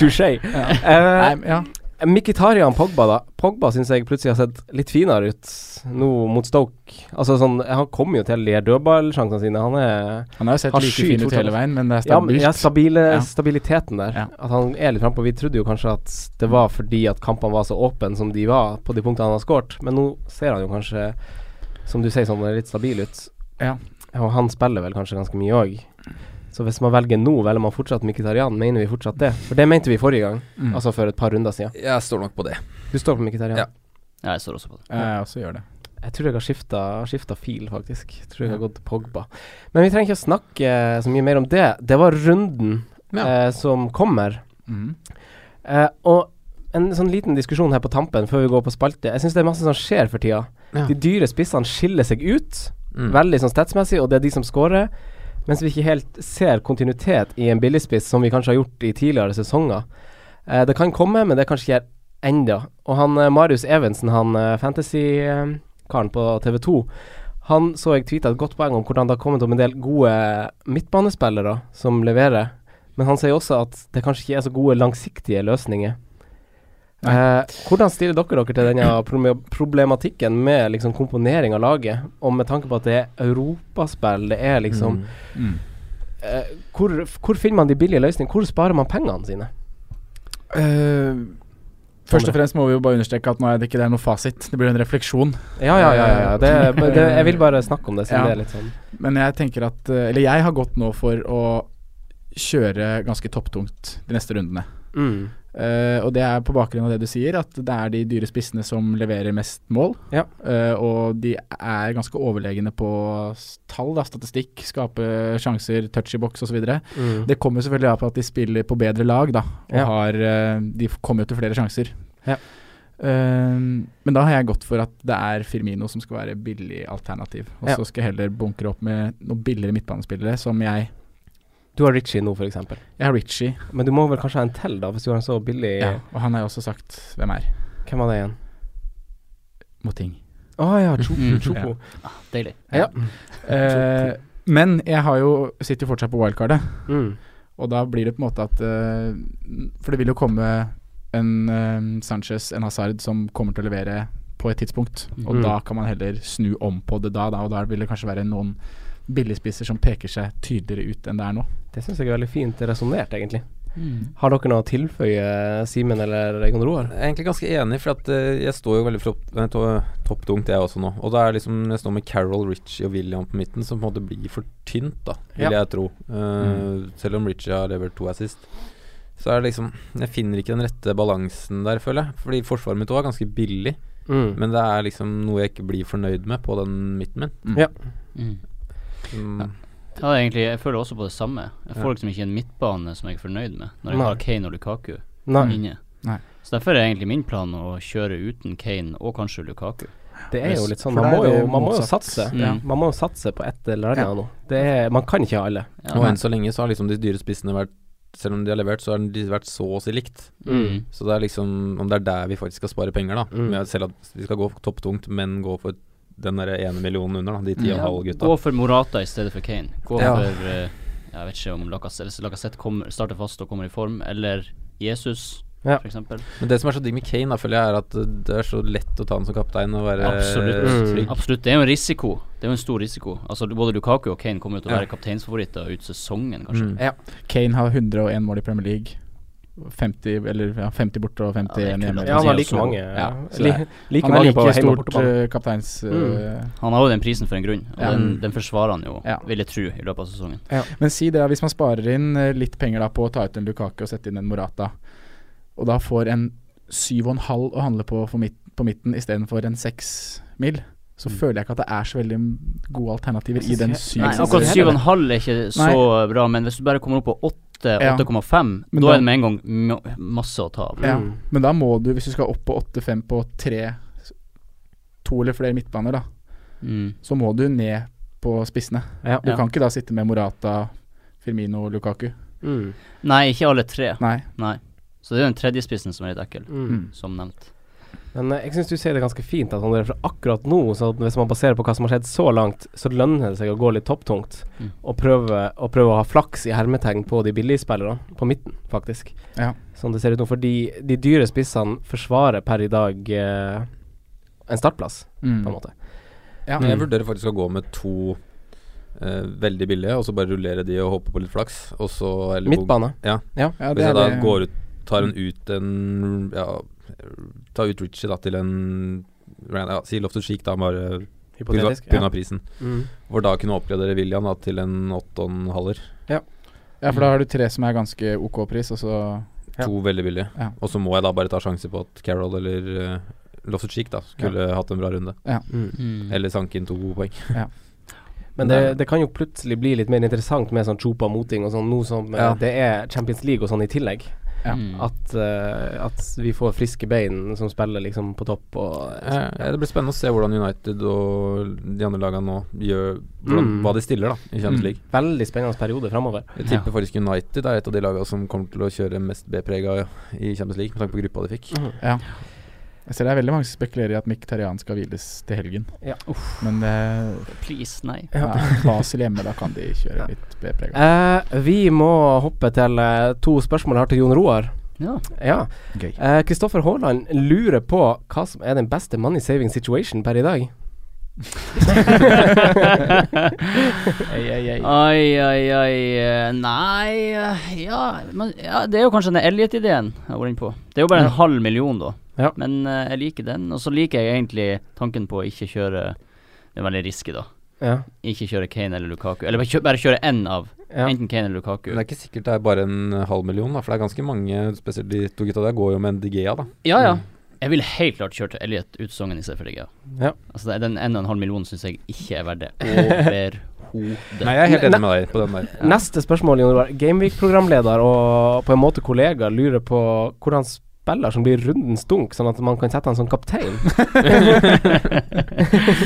Touché.
Nei,
Eh,
ja.
Mkhitaryan Pogba, da. Pogba syns jeg plutselig har sett litt finere ut nå mot Stoke. Altså sånn, Han kommer jo til de her dødballsjansene sine. Han er
Han har jo sett
Han
like
skyter
fin ut
fortsatt.
hele veien, men det er
ja, men,
stabilt.
ja, stabile,
Ja.
stabiliteten der.
Ja.
At han er litt frampå. Vi trodde jo kanskje at det var fordi at kampene var så åpne som de var, på de punktene han har skåret, men nå ser han jo kanskje, som du sier, sånn litt stabil ut.
Ja.
Og han spiller vel kanskje ganske mye òg. Så hvis man velger nå, velger man fortsatt Mkhitaryan? Mener vi fortsatt det? For det mente vi forrige gang,
Mm.
altså for et par runder siden.
Jeg står nok på det.
Du står på Mkhitaryan?
Ja.
Ja, jeg står også på det.
Ja, jeg eh, også gjør det.
Jeg tror jeg har skifta, skifta fil, faktisk. Jeg tror jeg har gått til Pogba. Men vi trenger ikke å snakke eh, så mye mer om det. Det var runden
Ja.
eh, som kommer.
Mm.
Eh, og en sånn liten diskusjon her på tampen før vi går på spalte. Jeg syns det er masse som skjer for tida.
Ja.
De dyre spissene skiller seg ut
Mm.
veldig sånn statsmessig, og det er de som scorer. Mens vi ikke helt ser kontinuitet i en billigspiss, som vi kanskje har gjort i tidligere sesonger. Eh, det kan komme, men det kan ikke gjøre enda. Og han eh, Marius Evensen, han eh, fantasy-karen på TV 2, han så jeg tweeta et godt poeng om hvordan det har kommet om en del gode eh, midtbanespillere som leverer. Men han sier også at det kanskje ikke er så gode langsiktige løsninger. Eh, hvordan stiller dere dere til denne proble- problematikken med liksom komponering av laget, og med tanke på at det er europaspill, det er liksom
Mm.
eh, hvor, hvor finner man de billige løsningene? Hvor sparer man pengene sine?
Eh, først og fremst må vi jo bare understreke at nå er det ikke det er noe fasit. Det blir en refleksjon.
Ja, ja, ja. ja, ja. Det, det, jeg vil bare snakke om det, siden
Ja.
det er litt sånn
Men jeg tenker at eh, Eller jeg har gått nå for å kjøre ganske topptungt de neste rundene.
mm.
Eh, og det er på bakgrunn av det du sier, at det er de dyre spissene som leverer mest mål.
Ja.
Eh, og de er ganske overlegne på s- tall, da, statistikk, skape sjanser, touch i boks osv.
Mm.
Det kommer selvfølgelig av på at de spiller på bedre lag, da. Og
Ja.
har, eh, de f- kommer jo til flere sjanser.
Ja.
Eh, men da har jeg gått for at det er Firmino som skal være billig alternativ. Og
Ja.
så skal jeg heller bunkre opp med noen billigere midtbanespillere, som jeg
Du har Ritchie nå, for eksempel
Jeg har Ritchie,
Men du må vel kanskje ha en til, da, hvis du har en så billig
og han har jo også sagt hvem er.
Hvem var det igjen?
Moting.
Å ja, Chopo.
Mm.
Chopo.
Ja.
Deilig.
Ja. Mm. Eh, men jeg har jo, sitter jo fortsatt på wildcardet.
Mm.
Og da blir det på en måte at eh, For det vil jo komme en eh, Sanchez, en Hazard, som kommer til å levere på et tidspunkt. Og
Mm.
da kan man heller snu om på det da, da og da vil det kanskje være noen billigspisser som peker seg tydeligere ut enn det er nå.
Det syns jeg er veldig fint resonnert, egentlig.
Mm.
Har dere noe å tilføye, Simen eller Egon Roar?
Jeg er egentlig ganske enig, for at eh, jeg står jo veldig flopp- nei, to- topptungt, jeg også nå. Og da er det liksom jeg står med Carol, Ritchie og William på midten, som på en måte blir for tynt, da, vil
Ja. Mm.
jeg tro. Eh, Selv om Ritchie har levert to assist. Så er det liksom Jeg finner ikke den rette balansen der, føler jeg. Fordi forsvaret mitt òg er ganske billig,
Mm.
men det er liksom noe jeg ikke blir fornøyd med på den midten min.
Mm.
Ja.
Mm.
Mm.
Ja, det er egentlig, jeg føler også på det samme. Jeg får
Ja.
liksom ikke en midtbane som jeg er fornøyd med, når jeg
Nei.
har Kane og Lukaku
Mm.
Nei,
inne.
Nei.
Så derfor er egentlig min plan å kjøre uten Kane og kanskje Lukaku.
det er jo litt sånn Man
For da er
må jo,
det
man må jo
motsatt. Mm.
satse.
Ja.
Man må jo satse på et eller annet nå. Det er, man kan ikke ha alle.
Ja.
Og enn så lenge så har liksom de dyre spissene vært Selv om de har levert, så har de vært så å si likt.
Mm.
Så det er liksom om det er der vi faktisk skal spare penger, da.
Mm.
Med- Selv at vi skal gå topptungt, men gå for den derre ene millionen under, da. De ti og en
Ja,
halv gutta.
Gå for Morata i stedet for Kane. Gå
Ja.
for eh, Jeg vet ikke om Lacassette, Lacassette kommer, starter fast og kommer i form, eller Jesus,
Ja.
for eksempel.
Men det som er så digg med Kane, da, føler jeg, er at uh, det er så lett å ta han som kaptein og være
Absolutt.
uh,
Mm.
trygg.
Absolutt. Det er jo en risiko. Det er jo en stor risiko. Altså Både Lukaku og Kane kommer jo til å
Ja.
være kapteinsfavoritter ut sesongen, kanskje.
Mm.
Kane har 101 mål i Premier League. 50, eller, ja, 50 borte og 51
Ja, det er
hjemme.
kult at
Ja, han har
sier
like
også-
mange.
Ja, så
li,
det er-
like
han er
mange på
like
hjemme og
stort
bortebane.
eh, kapteins... eh,
Han har jo den prisen for en grunn, og
Ja.
den, den forsvarer han jo,
Ja.
vil jeg tro, i løpet av sesongen.
Men si det, hvis man sparer inn eh, litt penger da på å ta ut en Lukaku og sette inn en Morata, og da får en 7,5 å handle på for midt, på midten istedenfor en 6 mil, så
Mm.
føler jeg ikke at det er så veldig gode alternativer i den 7.
Nei,
altså-
akkurat 7,5 er ikke så bra, men hvis du bare kommer opp på 8,
Ja.
8,5,
Men
da
da-
er det med en gang ma- masse å ta av.
Ja.
Mm.
Men da må du, hvis du skal opp på 8-5 på 3, to eller flere midtbaner, da,
Mm.
så må du ned på spissene.
Ja.
Du
Ja.
kan ikke da sitte med Morata, Firmino, Lukaku.
Mm.
Nei, ikke alle tre.
Nei.
Nei. Så det er jo den tredjespissen som er litt ekkel,
Mm.
som nevnt.
Men eh, jeg syns du sier det ganske fint, at André, for akkurat nå, så at hvis man baserer på hva som har skjedd så langt, så lønner det seg å gå litt topptungt
Mm.
og, prøve, og prøve å ha flaks i hermetegn på de billige spillerne, på midten, faktisk.
Ja.
Sånn det ser ut nå. Fordi de dyre spissene forsvarer per i dag eh, en startplass, på
Mm.
en måte.
Mm. Ja.
Men jeg vurderer faktisk å gå med to eh, veldig billige, og så bare rullere de og håpe på litt flaks, og så eller gå-
Midtbane.
Ja.
Ja, det
Hvis jeg
er
da
det-
går ut Tar en ut en Ja, tar ut Richie da til en ja, Si Loftus Cheek, da, bare pga.
Hypotetisk. Ja.
Ja. prisen.
Mm.
Hvor da kunne oppgradere William da, til en åttenhaller.
ja, for da har du tre som er ganske ok pris, og så
Ja.
To veldig billige.
Ja.
Og så må jeg da bare ta sjanse på at Carol eller uh, Loftus Cheek da skulle hatt en bra runde.
Mm.
Eller sanke inn to gode poeng.
Men det, det kan jo plutselig bli litt mer interessant med sånn chopa moting og sånn, nå som eh,
Ja.
det er Champions League og sånn i tillegg.
Ja.
Mm.
At, eh, at vi får friske bein som spiller liksom på topp og
Eh, Det blir spennende å se hvordan United og de andre lagene nå gjør hvordan,
Mm.
Hva de stiller da i Champions
Mm.
League.
Veldig spennende periode framover.
Jeg tipper faktisk United er et av de lagene som kommer til å kjøre mest B-prega i Champions League, med tanke på gruppa de fikk.
Mm.
Ja. Jeg ser det er veldig mange som spekulerer i at Mkhitaryan skal hviles til helgen.
Ja.
Men eh,
Please, nei.
ja. Basel hjemme, da kan de kjøre litt B-preg.
Eh, vi må hoppe til eh, to spørsmål her til Jon Roar.
Ja.
Ja.
Gøy.
Eh, Kristoffer Haaland lurer på hva som er den beste money saving situation per i dag.
Ai, ai, ai. eh, Nei eh, ja, men, ja, det er jo kanskje den Elliot-ideen jeg har vært inne på. Det er jo
Mm.
bare en halv million, da.
Ja.
Men eh, jeg liker den. Og så liker jeg egentlig tanken på å ikke kjøre Det er veldig risky, da.
Ja.
Ikke kjøre Kane eller Lukaku. Eller bare kjø- bare kjøre én av.
Ja.
Enten Kane eller Lukaku.
Men det er ikke sikkert det er bare en halv million, da, for det er ganske mange, spesielt de to gutta der, går jo med en Digea, da.
Ja,
Mm.
ja. Jeg ville helt klart kjørt Elliot ut sesongen i stedet for deg, ja.
Ja.
Altså, det- den en og en halv millionen syns jeg ikke er verdt det. Overhodet.
Nei, jeg er helt enig med deg på den der.
Neste spørsmål, Jon Roar. Gameweek-programleder og på en måte kollega lurer på hvordan spiller som blir rundens dunk, sånn at man kan sette han som kaptein.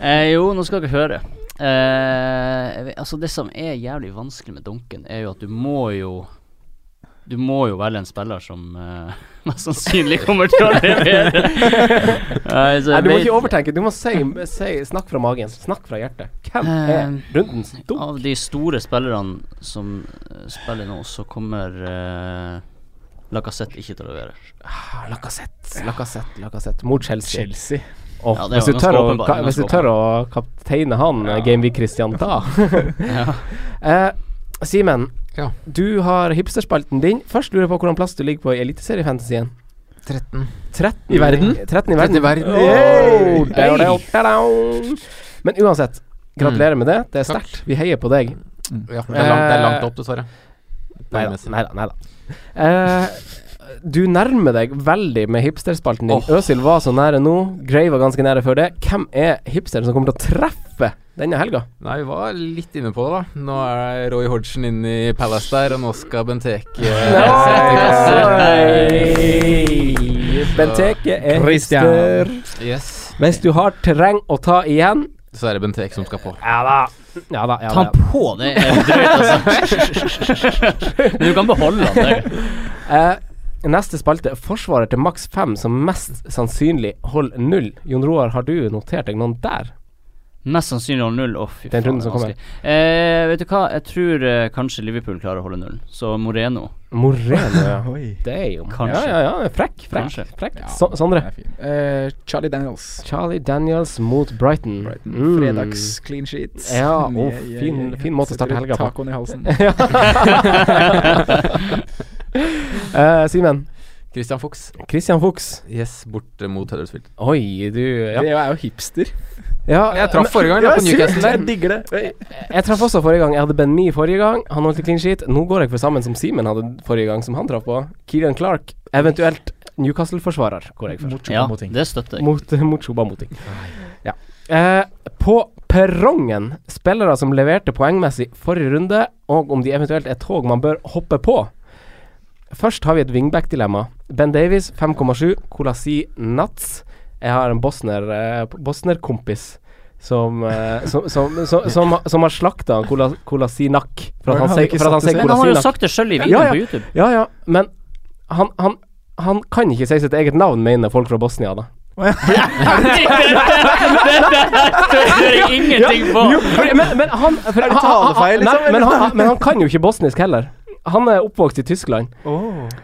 Eh, jo, nå skal dere høre. Eh, jeg vet- altså Det som er jævlig vanskelig med dunken, er jo at du må jo Du må jo velge en spiller som eh, mest sannsynlig kommer til å levere. Nei, så
Nei,
jeg
du må
vet-
ikke overtenke. Du må si, si Snakk fra magen. Snakk fra hjertet. Hvem er
Eh,
rundens dunk?
Av de store spillerne som eh, spiller nå, så kommer uh, Lacassette ikke til å levere.
Lacassette, Lacassette, Lacassette mot Chelsea.
Chelsea.
Åh,
Ja, det
hvis
var
du
ganske
tør, å,
åpenbar,
ka,
ganske
hvis du tør å kapteine han, ja. Gameweek Christian, da
Ja.
eh, Simen,
Ja.
du har hipsterspalten din. Først lurer jeg på hvilken plass du ligger på i Eliteseriefantasien.
13. I
13
verden?
13 i
13
verden.
i verden.
Wow.
Oi.
Der, der, der, der. Men uansett, gratulerer med det. Det er
Mm. Takk. Mm.
sterkt. Vi heier på deg.
Ja, det er langt, det er langt opp, dessverre.
Nei da. Nei da. Eh, du nærmer deg veldig med hipsterspalten din. Øsil var så nære nå. Grey var ganske nære før det. Hvem er hipsteren som kommer til å treffe denne helga?
Nei, vi var litt inne på det, da. Nå er Roy Hodgson inne i Palace der, og nå skal Benteke sette
Nei! Benteke er
Christian.
hipster.
Yes.
Mens du har terreng å ta igjen
Så er det Benteke som skal på.
Ja da. Ja da, ja
Ta
da.
han på, det er drøyt, altså. Men du kan beholde han, det.
Eh, neste spalte forsvarer til maks fem, som mest sannsynlig holder null. Jon Roar, har du notert deg noen der?
Mest sannsynlig holder null. Å, fy
Den runden
det er
som kommer.
vanskelig. Eh, vet du hva, jeg tror eh, kanskje Liverpool klarer å holde nullen. Så Moreno,
Moreno, ja.
Oi.
Det er jo
Kanskje.
Ja, ja, ja. Frekk, frekk.
kanskje.
frekk.
Ja,
Sa-
den
Sondre.
er fin. Eh, Charlie Daniels.
Charlie Daniels mot Brighton.
Brighton.
Mm.
Fredags clean sheets.
Ja,
Mm,
og
yeah, yeah,
fin-
yeah.
fin måte å starte
Setter
helga på.
Tacoen i halsen.
Eh, Simen.
Christian Fuchs.
Christian Fuchs.
Yes, borte mot Huddersfield.
Oi, du ja.
Det er jo hipster.
ja,
Jeg traff forrige gang, da, på Newcastle der.
Jeg digger det. Oi.
Jeg traff også forrige gang. Jeg hadde Ben Mee forrige gang. Han holdt i clean sheet. Nå går jeg for sammen som Simen hadde forrige gang, som han traff på. Kieran Clark, eventuelt Newcastle-forsvarer, går jeg for.
Mot
Ja,
Choupo-moting.
det støtter jeg.
Mot, mot Shoba Moting. Ja. Eh, på perrongen, spillere som leverte poengmessig forrige runde, og om de eventuelt er tog man bør hoppe på. Først har vi et wingback-dilemma. Ben Davies 5,7, Kolasi Nats. Jeg har en bosner eh, bosnerkompis som, eh, som, som, som, som, som har slakta Kolasinak for at
Har
han
han
sier
ikke
for at han
satt det
sier
selv?
Men han har jo
Kolasinak.
sagt det sjøl i
Ja,
videoen
ja.
på YouTube.
Ja, ja, men han, han, han kan ikke si sitt eget navn, mener folk fra Bosnia, da.
Det hører jeg ingenting på!
Jo, fordi- men, men han for,
det talefeil, liksom,
Nei, men,
eller?
han, men han kan jo ikke bosnisk heller. Han er oppvokst i Tyskland.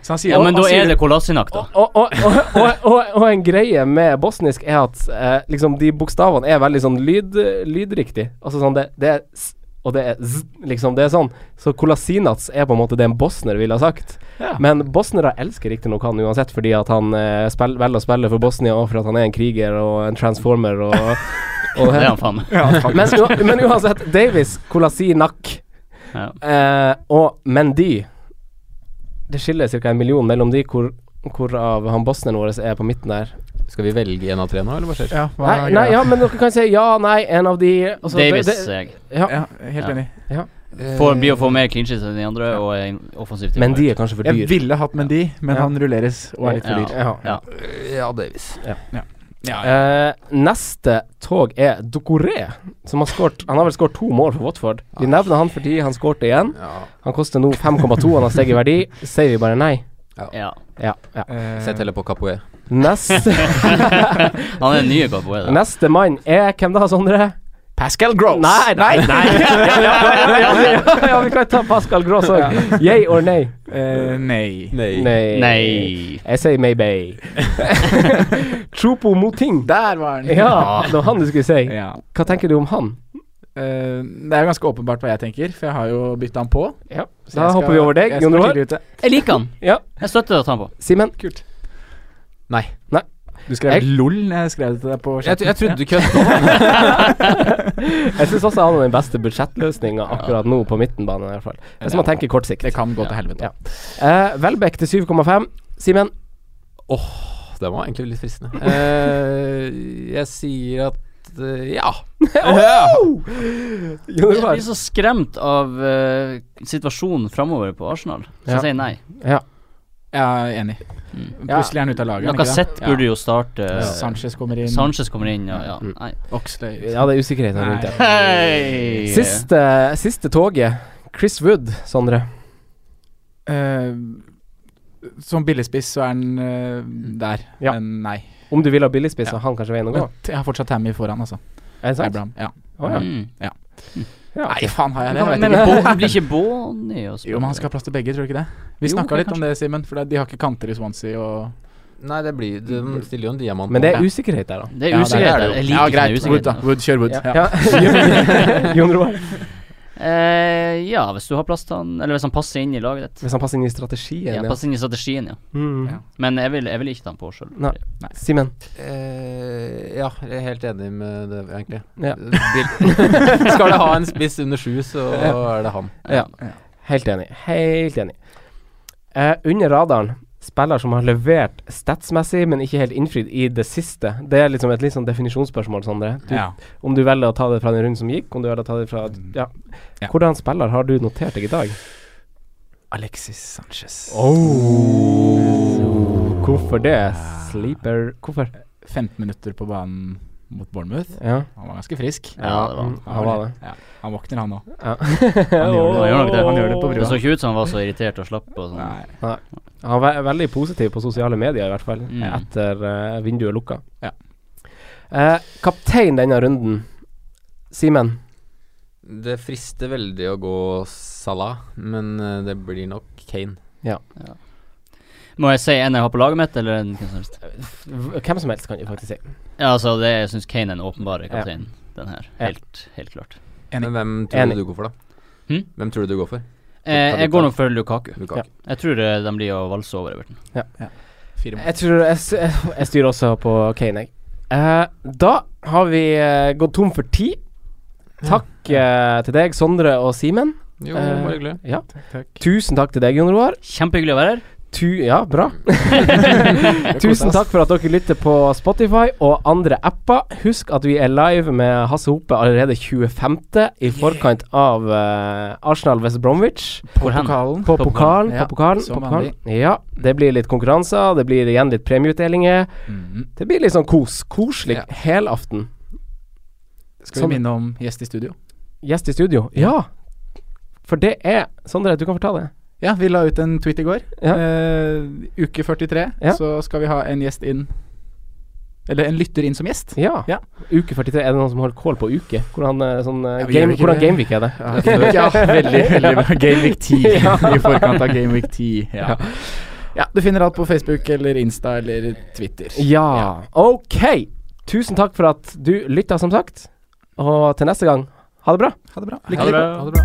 Så han sier,
Ja, men
han
da
sier
er det Kolasinak, da.
Og, og, og, og, og, og en greie med bosnisk er at eh, liksom de bokstavene er veldig sånn lyd, lydriktig. Altså sånn det, det er s og det er z, liksom. Det er sånn. Så Kolasinac er på en måte det en bosner ville ha sagt. Men bosnere elsker riktignok han uansett, fordi at han eh, spill, velger å spille for Bosnia, og for at han er en kriger og en transformer og, og
Det er han faen meg.
men, u- men uansett, Davis, Kolasinak
Ja.
eh, og Mendy Det skiller ca. en million mellom de, hvor, hvorav han bosneren vår er på midten der.
Skal vi velge en av tre nå, eller hva skjer?
Ah, Ja, hva
Nei,
er
nei,
greia?
ja, men dere kan si ja, nei, en av de og så-
Davis,
Altså, det-
sier jeg.
ja, helt
Ja. Eh,
enig.
Får, blir å få mer clinches enn de andre, og er en- offensivt.
Men de er kanskje for
Jeg
dyr.
ville hatt Mendy, men
Ja.
han rulleres og er litt
Ja.
for dyr.
Ja.
Ja.
Ja, Davis.
Ja.
Eh, neste tog er Dokoré, som har skåret Han har vel skåret to mål for Watford. Vi nevner han fordi han skårte igjen.
Ja.
Han koster nå 5,2, han har steget i verdi. Sier vi bare nei?
Ja.
Ja. ja.
Eh,
Sett heller på Capoe.
Neste
Han er den nye Gaboe, da.
Neste mann er hvem da, Sondre? Oh,
Pascal Gross!
Nei, nei, nei. ja, ja, ja, ja, ja, ja, vi kan ta Pascal Gross òg. Yay or nay?
Eh, nei.
Nei.
Nei.
Jeg sier maybe. Chopo Moting.
Der var han!
Ja, det var han du skulle si.
Ja.
Hva tenker du om han?
Eh, det er jo ganske åpenbart hva jeg tenker, for jeg har jo bytta han på.
Ja,
Så
Da
jeg skal-
hopper vi over deg,
jeg
Jon
skal
Roar.
tidlig ute.
Jeg liker han.
Ja.
Jeg støtter at han på.
Simen.
Kult.
Nei.
Du skrev
Jeg-
LOL når jeg skrev det til deg på
Jeg,
chatten.
tro- jeg trodde du kødda.
Jeg syns også han har den beste budsjettløsninga akkurat nå, på midtenbanen i hvert fall. Hvis man tenker kort sikt.
Det kan gå til helvete.
Ja. Eh, Welbeck til 7,5. Simen.
Den var egentlig litt fristende. Eh, jeg sier at eh, ja.
Jon
Jeg
Roar.
blir så skremt av eh, situasjonen framover på Arsenal, så
Ja.
jeg sier nei.
Jeg er enig. Plutselig er han ute av laget. er han ikke det?
Lacassette burde jo starte
Ja. Sanchez kommer inn. Mm.
Sanchez kommer inn, ja. ja. Nei. Eh,
Oxlade.
Ja, det er usikkerheten rundt det.
Hei!
Siste, siste toget. Chris Wood, Sondre.
Eh, som billigspiss så er han eh, der, men nei.
Om du vil ha billigspiss, så er han kanskje veien å gå.
Men t- Jeg har fortsatt Tammy foran, altså.
Er det sant?
Abraham, ja.
Å, ja.
Mm.
ja.
Ja, ok.
Nei, faen har jeg det? Jeg
Men
vet ikke.
Bo- blir ikke Bonny å spille?
Jo, men han skal ha plass til begge, tror du ikke det? Vi
Jo,
snakka
det
litt om det, Simen, for det- de har ikke kanter i Swansea og
Nei, det blir De stiller jo en diamant
Men det er
på.
usikkerhet der, da.
Det er
Ja,
usikkerhet.
det er det jo.
jeg
Ja,
liker ikke
greit.
den
Wood, da.
usikkerheten.
Wood, kjør Wood. Ja.
Ja. Jon Roar,
Eh, ja, hvis du har plass til han Eller hvis han passer inn i laget ditt.
hvis han passer inn i strategien ja.
Ja, passer inn i strategien, ja.
Mm.
Men jeg vil, jeg vil ikke ta han på sjøl.
Nei. Simen.
Eh, ja, jeg er helt enig med det, egentlig.
Ja.
Bil- Skal du ha en spiss under sju, så er det han.
Ja. Helt enig. Helt enig. Eh, under radaren, spiller som har levert statsmessig, men ikke helt innfridd i det siste. Det er liksom et litt sånn definisjonsspørsmål, Sondre. Du,
Ja.
Om du velger å ta det fra den runden som gikk, om du velger å ta det fra ja.
Ja.
Hvordan spiller har du notert deg i dag?
Alexis Sanchez.
Hvorfor det? Sleeper Hvorfor?
15 minutter på banen mot Bournemouth.
Ja.
Han var ganske frisk.
Ja, det var han.
Han var Mm, det.
Ja, han våkner, han òg.
Ja.
Han gjør det,
Han gjør nok det.
Han gjør det på
Det så
brua.
ikke ut som han var så irritert og slapp.
Mm.
Og sånn.
Nei.
Han var veldig positiv på sosiale medier, i hvert fall,
Mm.
etter eh, vinduet lukka.
Ja.
Eh, kaptein denne runden, Simen.
Det frister veldig å gå Salah, men eh, det blir nok Kane.
Må jeg si en jeg har på laget mitt, eller en hvem som helst?
V- Hvem som helst, kan jeg faktisk si.
Ja, altså, det, jeg syns Kane er den åpenbare kapteinen. Den her.
Ja.
Helt, helt klart.
Enig.
Men hvem tror
Enig.
du du går for, da?
Hm?
Hvem tror du du går for?
Eh, jeg går nok for Lukaku.
Lukaku.
Ja.
Jeg tror eh, de blir å valse over Everton.
Fire mål.
Jeg tror jeg, s- jeg styrer også på Kane, jeg. Eh, da har vi eh, gått tom for tid. Takk eh, til deg, Sondre og Simen.
Jo,
Eh,
bare hyggelig.
Ja. Tusen takk til deg, Jon Roar.
Kjempehyggelig å være her.
Tu ja, bra. Tusen takk for at dere lytter på Spotify og andre apper. Husk at vi er live med Hasse Hope allerede 25. i forkant av eh, Arsenal West Bromwich.
Hvor hen?
På pokalen.
Ja,
På pokalen.
som
på pokalen. Ja, det blir litt konkurranser, det blir igjen litt premieutdelinger.
Mhm.
Det blir litt sånn kos. Koselig
Ja.
helaften.
Skal
Sånn.
vi minne om gjest i studio?
Gjest i studio. Ja! For det er Sondre, du kan fortelle det.
Ja, vi la ut en tweet i går.
Ja.
Eh, uke 43,
Ja.
så skal vi ha en gjest inn Eller en lytter inn som gjest.
Ja.
Ja.
Uke 43. Er det noen som holder kål på uke? Hvordan, eh, sånn, eh,
Ja, vi gjør
game,
ikke
hvordan
det.
gameweek er det?
ja, veldig, veldig bra. Game Week 10
Ja.
i forkant av Game Week 10. Ja. ja, du finner alt på Facebook eller Insta eller Twitter.
Ja. Ok. Tusen takk for at du lytta, som sagt. Og til neste gang, ha det bra.
Ha det bra.
Ha det bra.
Ha det bra.